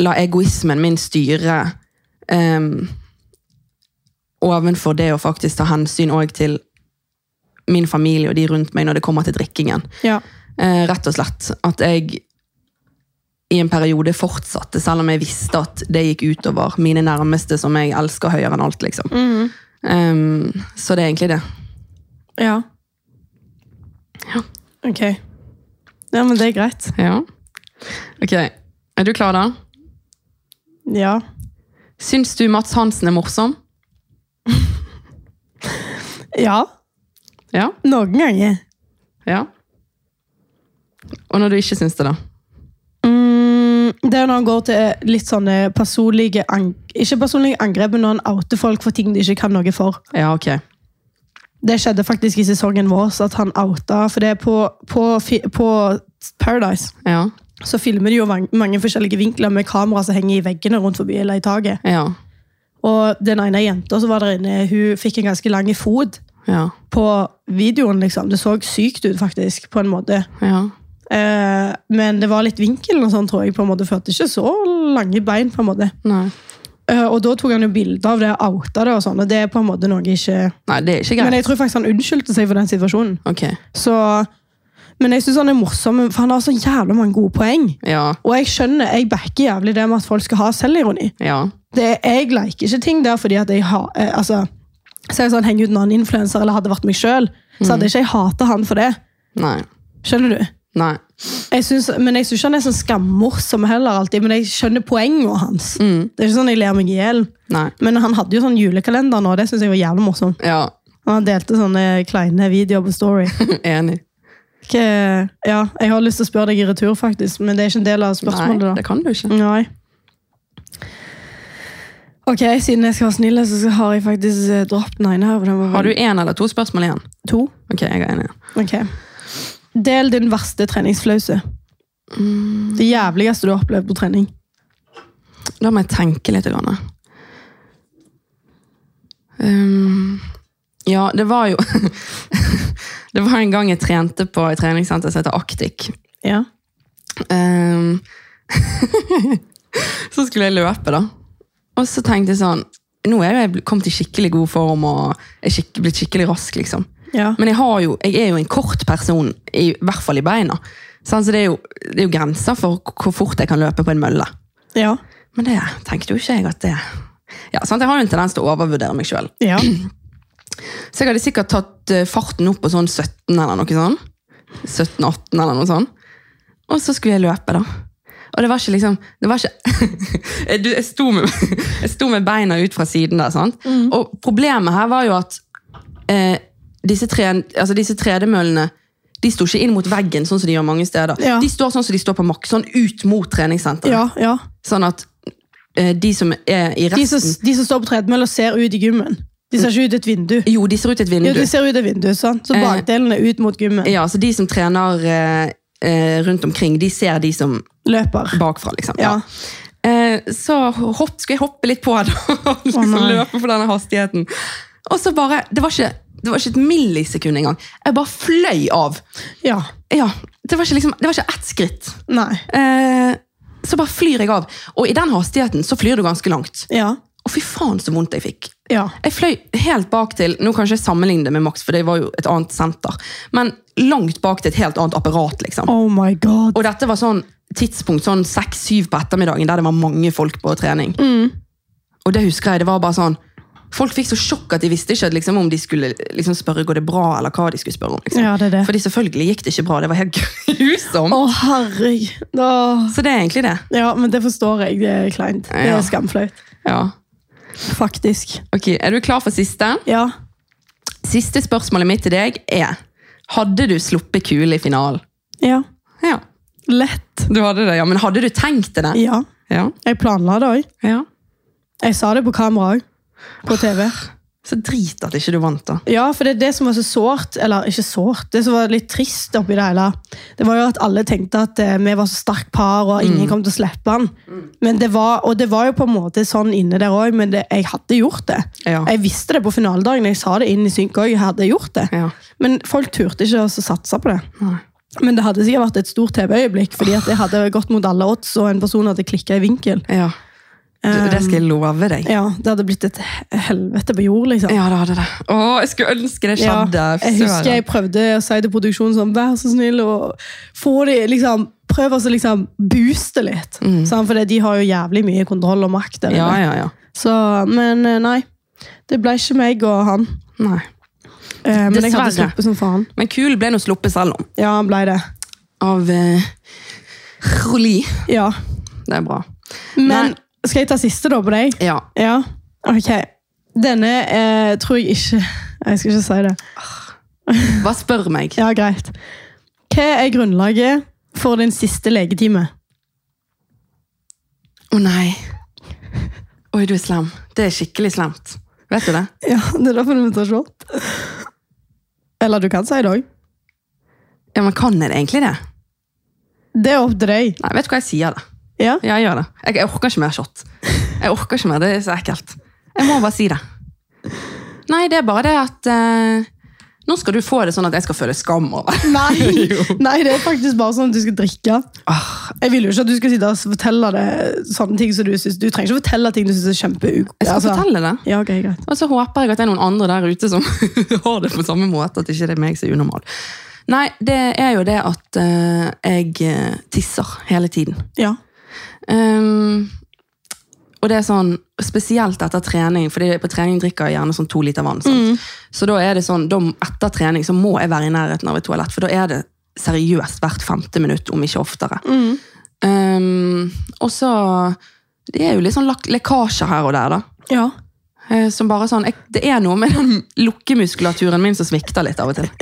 la egoismen min styre ehm, ovenfor det å faktisk ta hensyn òg til min familie og de rundt meg når det kommer til drikkingen.
ja.
Eh, rett og slett. At jeg i en periode fortsatte, selv om jeg visste at det gikk utover mine nærmeste, som jeg elsker høyere enn alt, liksom. Ehm, så det er egentlig det.
Ja.
Ja.
Ok. Ja, men det er greit.
Ja. Ok, er du klar da?
Ja.
Syns du Mats Hansen er morsom?
Ja.
Ja.
Noen ganger.
ja. Og når du ikke syns det, da?
Mm, det er når han går til litt sånne personlige ang Ikke personlige angrep, men når han outer folk for ting de ikke kan noe for.
Ja, ok.
Det skjedde faktisk i sesongen vår, så at han outa. For det er på, på, fi- på Paradise
Ja.
så filmer de jo mang- mange forskjellige vinkler med kamera som henger i veggene rundt forbi eller i taket.
Ja.
Og den ene jenta som var der inne, hun fikk en ganske lang fot
Ja.
på videoen, liksom. Det så sykt ut, faktisk, på en måte.
Ja.
Eh, men det var litt vinkelen og sånn, tror jeg, på en måte. For at det ikke er så lange bein, på en måte.
Nei.
Eh, og da tok han jo bilder av det, outa det og sånn. Og det er på en måte noe jeg ikke
Nei, det er ikke
Men
greit.
jeg tror faktisk han unnskyldte seg for den situasjonen.
Ok.
Så Men jeg syns han er morsom, for han har så jævla mange gode poeng.
Ja.
Og jeg skjønner, jeg backer jævlig det med at folk skal ha selvironi.
Ja.
Det, jeg liker ikke ting der fordi at jeg har eh, Altså, si sånn, henger ut en annen influenser eller hadde vært meg sjøl, så hadde ikke jeg hata han for det.
Nei.
Skjønner du?
Nei.
Jeg synes, men jeg syns ikke han er sånn skammorsom heller, alltid, men jeg skjønner poenget hans.
Mm.
Det er ikke sånn jeg ler meg i hjel.
Nei.
Men han hadde jo sånn julekalender nå, det syns jeg var jævlig morsomt.
Ja. <laughs>
Og han delte sånne kleine videoer på Story.
Enig.
Ikke, ja, jeg har lyst til å spørre deg i retur, faktisk, men det er ikke en del av spørsmålet.
Nei,
da.
det kan du ikke.
Nei. Ok, siden jeg skal være snill, så så har jeg faktisk eh, droppet den ene her. for den var
Mm. Har du
vel-
én eller to spørsmål igjen?
to?
Ok, jeg har en igjen.
Ok. Del din verste treningsflause.
Mm.
Det jævligste du har opplevd på trening.
Da må jeg tenke litt. Grann. Um, ja, det var jo <laughs> Det var en gang jeg trente på et treningssenter som heter Actic.
Ja.
Ehm, <laughs> så skulle jeg løpe, da. Og så tenkte jeg sånn Nå er jo jeg bl- kommet i skikkelig god form og er skikk, blitt skikkelig rask, liksom.
Ja.
Men jeg, har jo, jeg er jo en kort person, i hvert fall i beina. Sånn, så det er, jo, det er jo grenser for k- hvor fort jeg kan løpe på en mølle.
Ja.
Men det tenkte jo ikke jeg at det ja, sant? Jeg har jo en tendens til å overvurdere meg sjøl.
Ja.
Så jeg hadde sikkert tatt eh, farten opp på sånn 17 eller noe sånn. 17-18 eller noe sånn. Og så skulle jeg løpe, da. Og det var ikke liksom det var ikke, <laughs> jeg, du- jeg, sto med, jeg sto med beina ut fra siden der, sant?
Mm.
Og problemet her var jo at eh, disse, tre, altså disse tredemøllene de sto ikke inn mot veggen, sånn som de gjør mange steder.
Ja.
De står sånn som de står på maks, sånn ut mot treningssenteret.
ja, ja.
Sånn at eh, de som er i
De, som,
resten
de som står på tredemølla, ser ut i gymmen. De ser ikke ut et vindu.
Jo, de ser ut et vindu.
Jo, de ser ut et vindu, sant? Så
Eh.
bakdelen er ut mot gymmen.
Ja, så de som trener eh, eh, rundt omkring, de ser de som
Løper.
bakfra, liksom.
Ja.
Eh, så hopp, skulle jeg hoppe litt på <laughs> det, og liksom
nei.
løpe på denne hastigheten. Og så bare, det var ikke, det var ikke et millisekund engang. Jeg bare fløy av.
Ja.
Ja, det var ikke, liksom, det var ikke ett skritt.
Nei.
Eh, så bare flyr jeg av. Og i den hastigheten så flyr du ganske langt.
Ja.
Og fy faen så vondt jeg fikk.
Ja.
Jeg fløy helt bak til Nå kan jeg ikke sammenligne det med Max, for det var jo et annet senter. Men langt bak til et helt annet apparat, liksom.
Oh my god.
Og dette var sånn tidspunkt sånn 6-7 på ettermiddagen, der det var mange folk på trening.
Mm.
Og det husker jeg, det var bare sånn Folk fikk så sjokk at de visste ikke liksom, om de skulle liksom, spørre går det bra, eller hva de skulle spørre om. Liksom.
Ja, det er det.
Fordi selvfølgelig gikk det ikke bra. Det var helt <laughs> grusomt.
Å, herregud. Åh.
Så det er egentlig det.
Ja, men det forstår jeg. Det er kleint. Det
Ja.
er skamflaut.
Ja.
Faktisk.
Ok, Er du klar for siste?
Ja.
Siste spørsmålet mitt til deg er Hadde du sluppet kule i finalen?
Ja.
Ja.
Lett.
Du hadde det, ja. Men hadde du tenkt deg det?
Ja.
Ja.
Jeg planla det òg.
ja.
Jeg sa det på kamera òg. På TV.
Så drit at ikke du vant, da.
Ja, for det er det som var så sårt, eller ikke sårt, det som var litt trist oppi det hele, det var jo at alle tenkte at eh, vi var så sterkt par, og
Mm.
ingen kom til å slippe han. Men det var, og det var jo på en måte sånn inne der òg, men det, jeg hadde gjort det.
Ja.
Jeg visste det på finaledagen, jeg sa det inn i synk òg, jeg hadde gjort det.
Ja.
Men folk turte ikke å satse på det.
Nei.
Men det hadde sikkert vært et stort TV-øyeblikk, fordi at jeg hadde gått mot alle odds, og en person hadde klikka i vinkel.
ja. Du, det
Um,
skal jeg love deg.
Ja, Det hadde blitt et helvete på jord, liksom.
Ja, det hadde det. Å, jeg skulle ønske det
Ja,
skjedde.
jeg husker jeg prøvde å si til produksjonen sånn, vær så snill og få de, liksom, prøv å så liksom booste litt. sant? For de har jo jævlig mye kontroll og makt. der
Mm. Ja,
inne.
ja, ja.
Så, men eh, nei, det ble ikke meg og han.
Nei.
Eh, men jeg hadde
Dessverre.
sluppet som faen.
Men Kul ble nå sluppet selv om.
Ja, han ble det.
Av eh, Roli.
Ja.
Det er bra.
Men
Nei.
skal jeg ta siste da på deg?
Ja.
Ja, ok. Denne eh, tror jeg ikke Jeg skal ikke si det.
Bare spør meg.
Ja, greit. Hva er grunnlaget for din siste legetime?
Å nei. Oi, du er slem. Det er skikkelig slemt. Vet du det?
<laughs> Ja, det er derfor du tar short. Eller du kan si det òg.
Ja, men kan jeg egentlig det?
Det er opp til deg.
Nei, vet du hva jeg sier det?
Ja.
Ja, jeg gjør det. Jeg, jeg orker ikke mer shot. Jeg orker ikke mer, det er så ekkelt. Jeg må bare si det. Nei, det er bare det at eh, Nå skal du få det sånn at jeg skal føle skam over det.
<laughs> Nei.
<laughs> Jo.
Nei, det er faktisk bare sånn at du skal drikke.
Åh,
Jeg vil jo ikke at du skal sitte og fortelle det sånne ting som du syns Du trenger ikke fortelle ting du syns er kjempeuk...
Jeg skal
altså-
fortelle det.
Ja, ok, greit.
Og så håper jeg at det er noen andre der ute som <laughs> har det på samme måte, at ikke det er meg som er unormal. Nei, det er jo det at eh, jeg eh, tisser hele tiden.
Ja.
Ehm, og det er sånn, spesielt etter trening, fordi på trening drikker jeg gjerne sånn to liter vann. Sant? Så da er det sånn, da, etter trening så må jeg være i nærheten av et toalett, for da er det seriøst hvert femte minutt, om ikke oftere. Ehm, og så, det er jo litt sånn lak- lekkasjer her og der da.
Ja.
Eh, Som bare sånn, jeg, det er noe med den lukkemuskulaturen min som svikter litt av og til.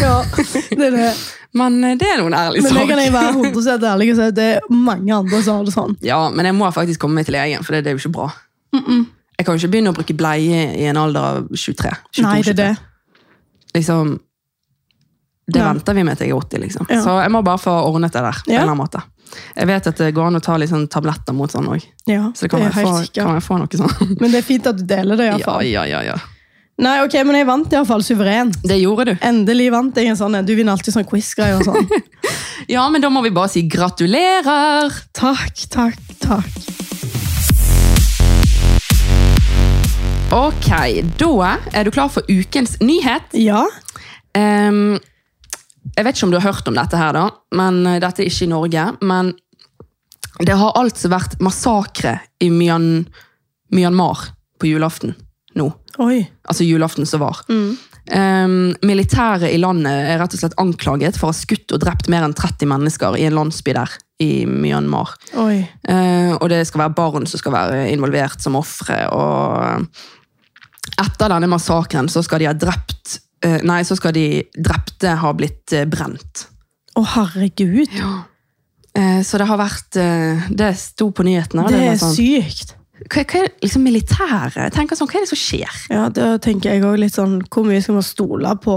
ja.
<laughs>
Det er det.
Men eh, det er noen ærlig
Men det kan jeg
sak.
være 100 ærlig og si at det er mange andre som har det sånn.
Ja, men jeg må faktisk komme meg til legen, for det, det er jo ikke bra. Jeg kan jo ikke begynne å bruke bleie i en alder av 23. 22,
Nei, det er det.
23. Liksom, det
Ja.
venter vi med til jeg er 80, liksom.
Ja.
Så jeg må bare få ordnet det der. på en
Ja.
eller annen måte. Jeg vet at det går an å ta litt sånn tabletter mot sånn òg.
Ja,
Så det kan
det
jeg,
er helt
få,
sikkert.
kan jeg få noe sånn.
Men det er fint at du deler det. i hvert
Ja,
fall.
<laughs> ja, ja, ja.
Nei, ok, men jeg vant iallfall suveren.
Det gjorde du.
Endelig vant jeg en sånn en. Du vinner alltid sånn quiz-greier og sånn.
Ja, men da må vi bare si gratulerer!
Takk, takk, takk.
Ok, da er du klar for ukens nyhet.
Ja.
Ehm, jeg vet ikke om du har hørt om dette her, da, men eh, dette er ikke i Norge. Men det har altså vært massakre i Myan Myanmar på julaften nå.
Oi.
Altså julaften som var. Ehm, militæret i landet er rett og slett anklaget for å ha skutt og drept mer enn 30 mennesker i en landsby der i Myanmar.
Oi.
Eh, og det skal være barn som skal være involvert som ofre. Og etter denne massakren så skal de ha drept eh, Nei, så skal de drepte ha blitt eh, brent.
Å, herregud.
Eh, så det har vært eh, Det sto på nyhetene. og
Det
var
er
sånn,
sykt.
hva, hva er det- liksom militæret? Jeg tenker sånn, Hva er det som skjer?
Ja, da tenker jeg òg litt sånn Hvor mye skal man stole på,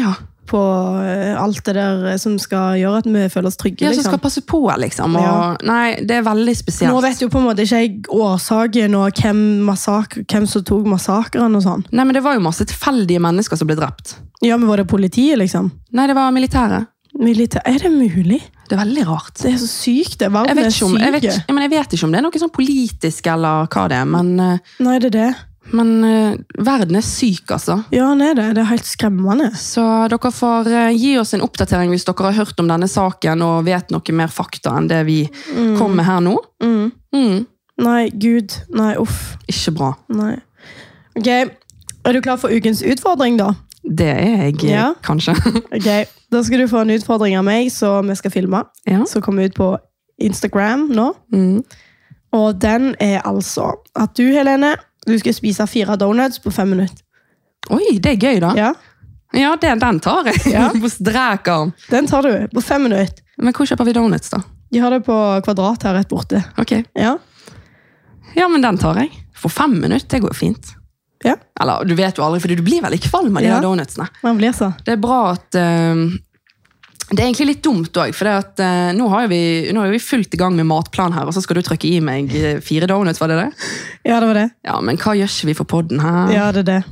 Ja,
på eh, alt det der som skal gjøre at vi føler oss trygge?
ja Som
liksom?
skal passe på, liksom. Og,
Ja.
Nei, det er veldig spesielt.
Nå vet jo på en måte ikke jeg årsaken og hvem, massak hvem som tok massakren og sånn.
Nei, men Det var jo masse tilfeldige mennesker som ble drept.
Ja, men var det politiet, liksom?
Nei, det var militæret.
Militær. Er det mulig?
Det er veldig rart.
Det er så sykt, det.
Jeg
Verden
vet,
er
ikke om, jeg, vet,
syk.
ja, men jeg vet ikke om det er noe sånn politisk eller hva det er, men, eh,
Nei, det er det.
men eh, verden er syk, altså.
Ja, han er det. Det er helt skremmende.
Så dere får eh, gi oss en oppdatering hvis dere har hørt om denne saken og vet noe mer fakta enn det vi kom med her nå. Mm.
Nei, gud. Nei, uff.
Ikke bra.
Nei. Ok, er du klar for ukens utfordring da?
Det er jeg, eh,
Ja.
kanskje. <laughs>
Ok, da skal du få en utfordring av meg som vi skal filme.
ja.
Som kommer ut på Instagram nå.
Mm.
Og den er altså at du, Helene, du skal spise fire donuts på fem minutter.
Oi, det er gøy, da. Ja,
Ja,
det, den tar jeg
Ja.
<laughs> på streker.
den tar du på fem minutter.
Men hvor kjøper vi donuts, da?
De har det på kvadrat her rett borte.
Ok.
Ja.
Ja, men den tar jeg. For fem minutter, det går jo fint.
Ja.
Eller, du vet jo aldri, for du blir veldig kvalm av de
Ja.
her donutsene.
Man blir så.
Det er bra at eh, Det er egentlig litt dumt òg, for det at, eh, nå, har jo vi- nå er jo vi fullt i gang med matplan her, og så skal du trykke i meg eh, fire donuts, var det det?
Ja, det var det.
Ja, men hva gjør ikke vi for podden her?
Ja, det er det.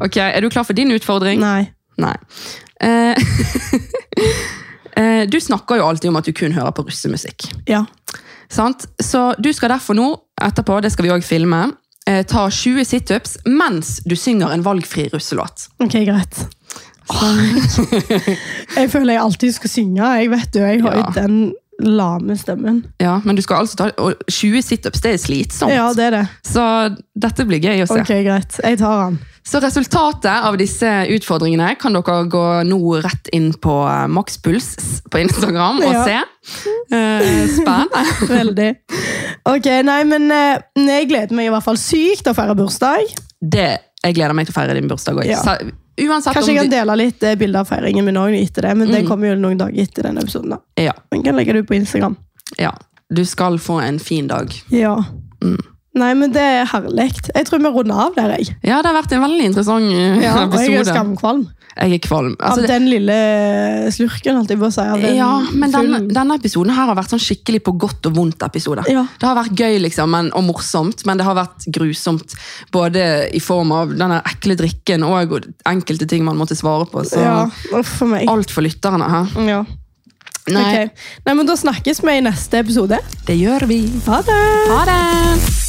Ok, Er du klar for din utfordring?
Nei.
Nei. Eh, <laughs> eh, du snakker jo alltid om at du kun hører på russemusikk.
Ja.
Sant? Så du skal derfor nå, etterpå, det skal vi òg filme, eh, ta 20 situps mens du synger en valgfri russelåt.
Ok, greit.
<laughs>
Jeg føler jeg alltid skal synge. Jeg vet jo, jeg har jo
Ja.
den lame stemmen.
Ja, men du skal altså ta og 20 situps, det er slitsomt.
Ja, det er det.
Så dette blir gøy å se.
Ok, greit. Jeg tar den.
Så resultatet av disse utfordringene kan dere gå nå rett inn på eh, Maxpuls på Instagram og
Ja.
se. Eh, Spennende.
Veldig. Ok, nei, men eh, jeg gleder meg i hvert fall sykt til å feire bursdag.
Det, jeg gleder meg til å feire din bursdag òg.
Ja.
Uansett
Kanskje jeg
om
kan
du,
dele litt eh, bilder av feiringen min også etter det, men
Mm.
det kommer jo noen dager etter denne episoden. da.
ja,
Men jeg kan legge det ut på Instagram.
ja, du skal få en fin dag.
Ja.
Mm.
Nei, men det er herlig. Jeg tror vi runder av
<laughs>
der, jeg.
Ja, det har vært en veldig interessant eh,
Ja, og jeg er
episode.
skamkvalm.
Jeg er kvalm. Altså,
av
det,
den lille slurken, holdt jeg på å si. Av den
ja, men denne,
full-
denne episoden her har vært sånn skikkelig på godt og vondt episode.
Ja.
Det har vært gøy liksom, men, og morsomt, men det har vært grusomt. Både i form av denne ekle drikken og enkelte ting man måtte svare på. Så
ja, uff for meg.
alt for lytterne her.
Ja.
Nei,
Ok. Nei, men da snakkes vi i neste episode.
det gjør vi.
Ha det!
Ha det!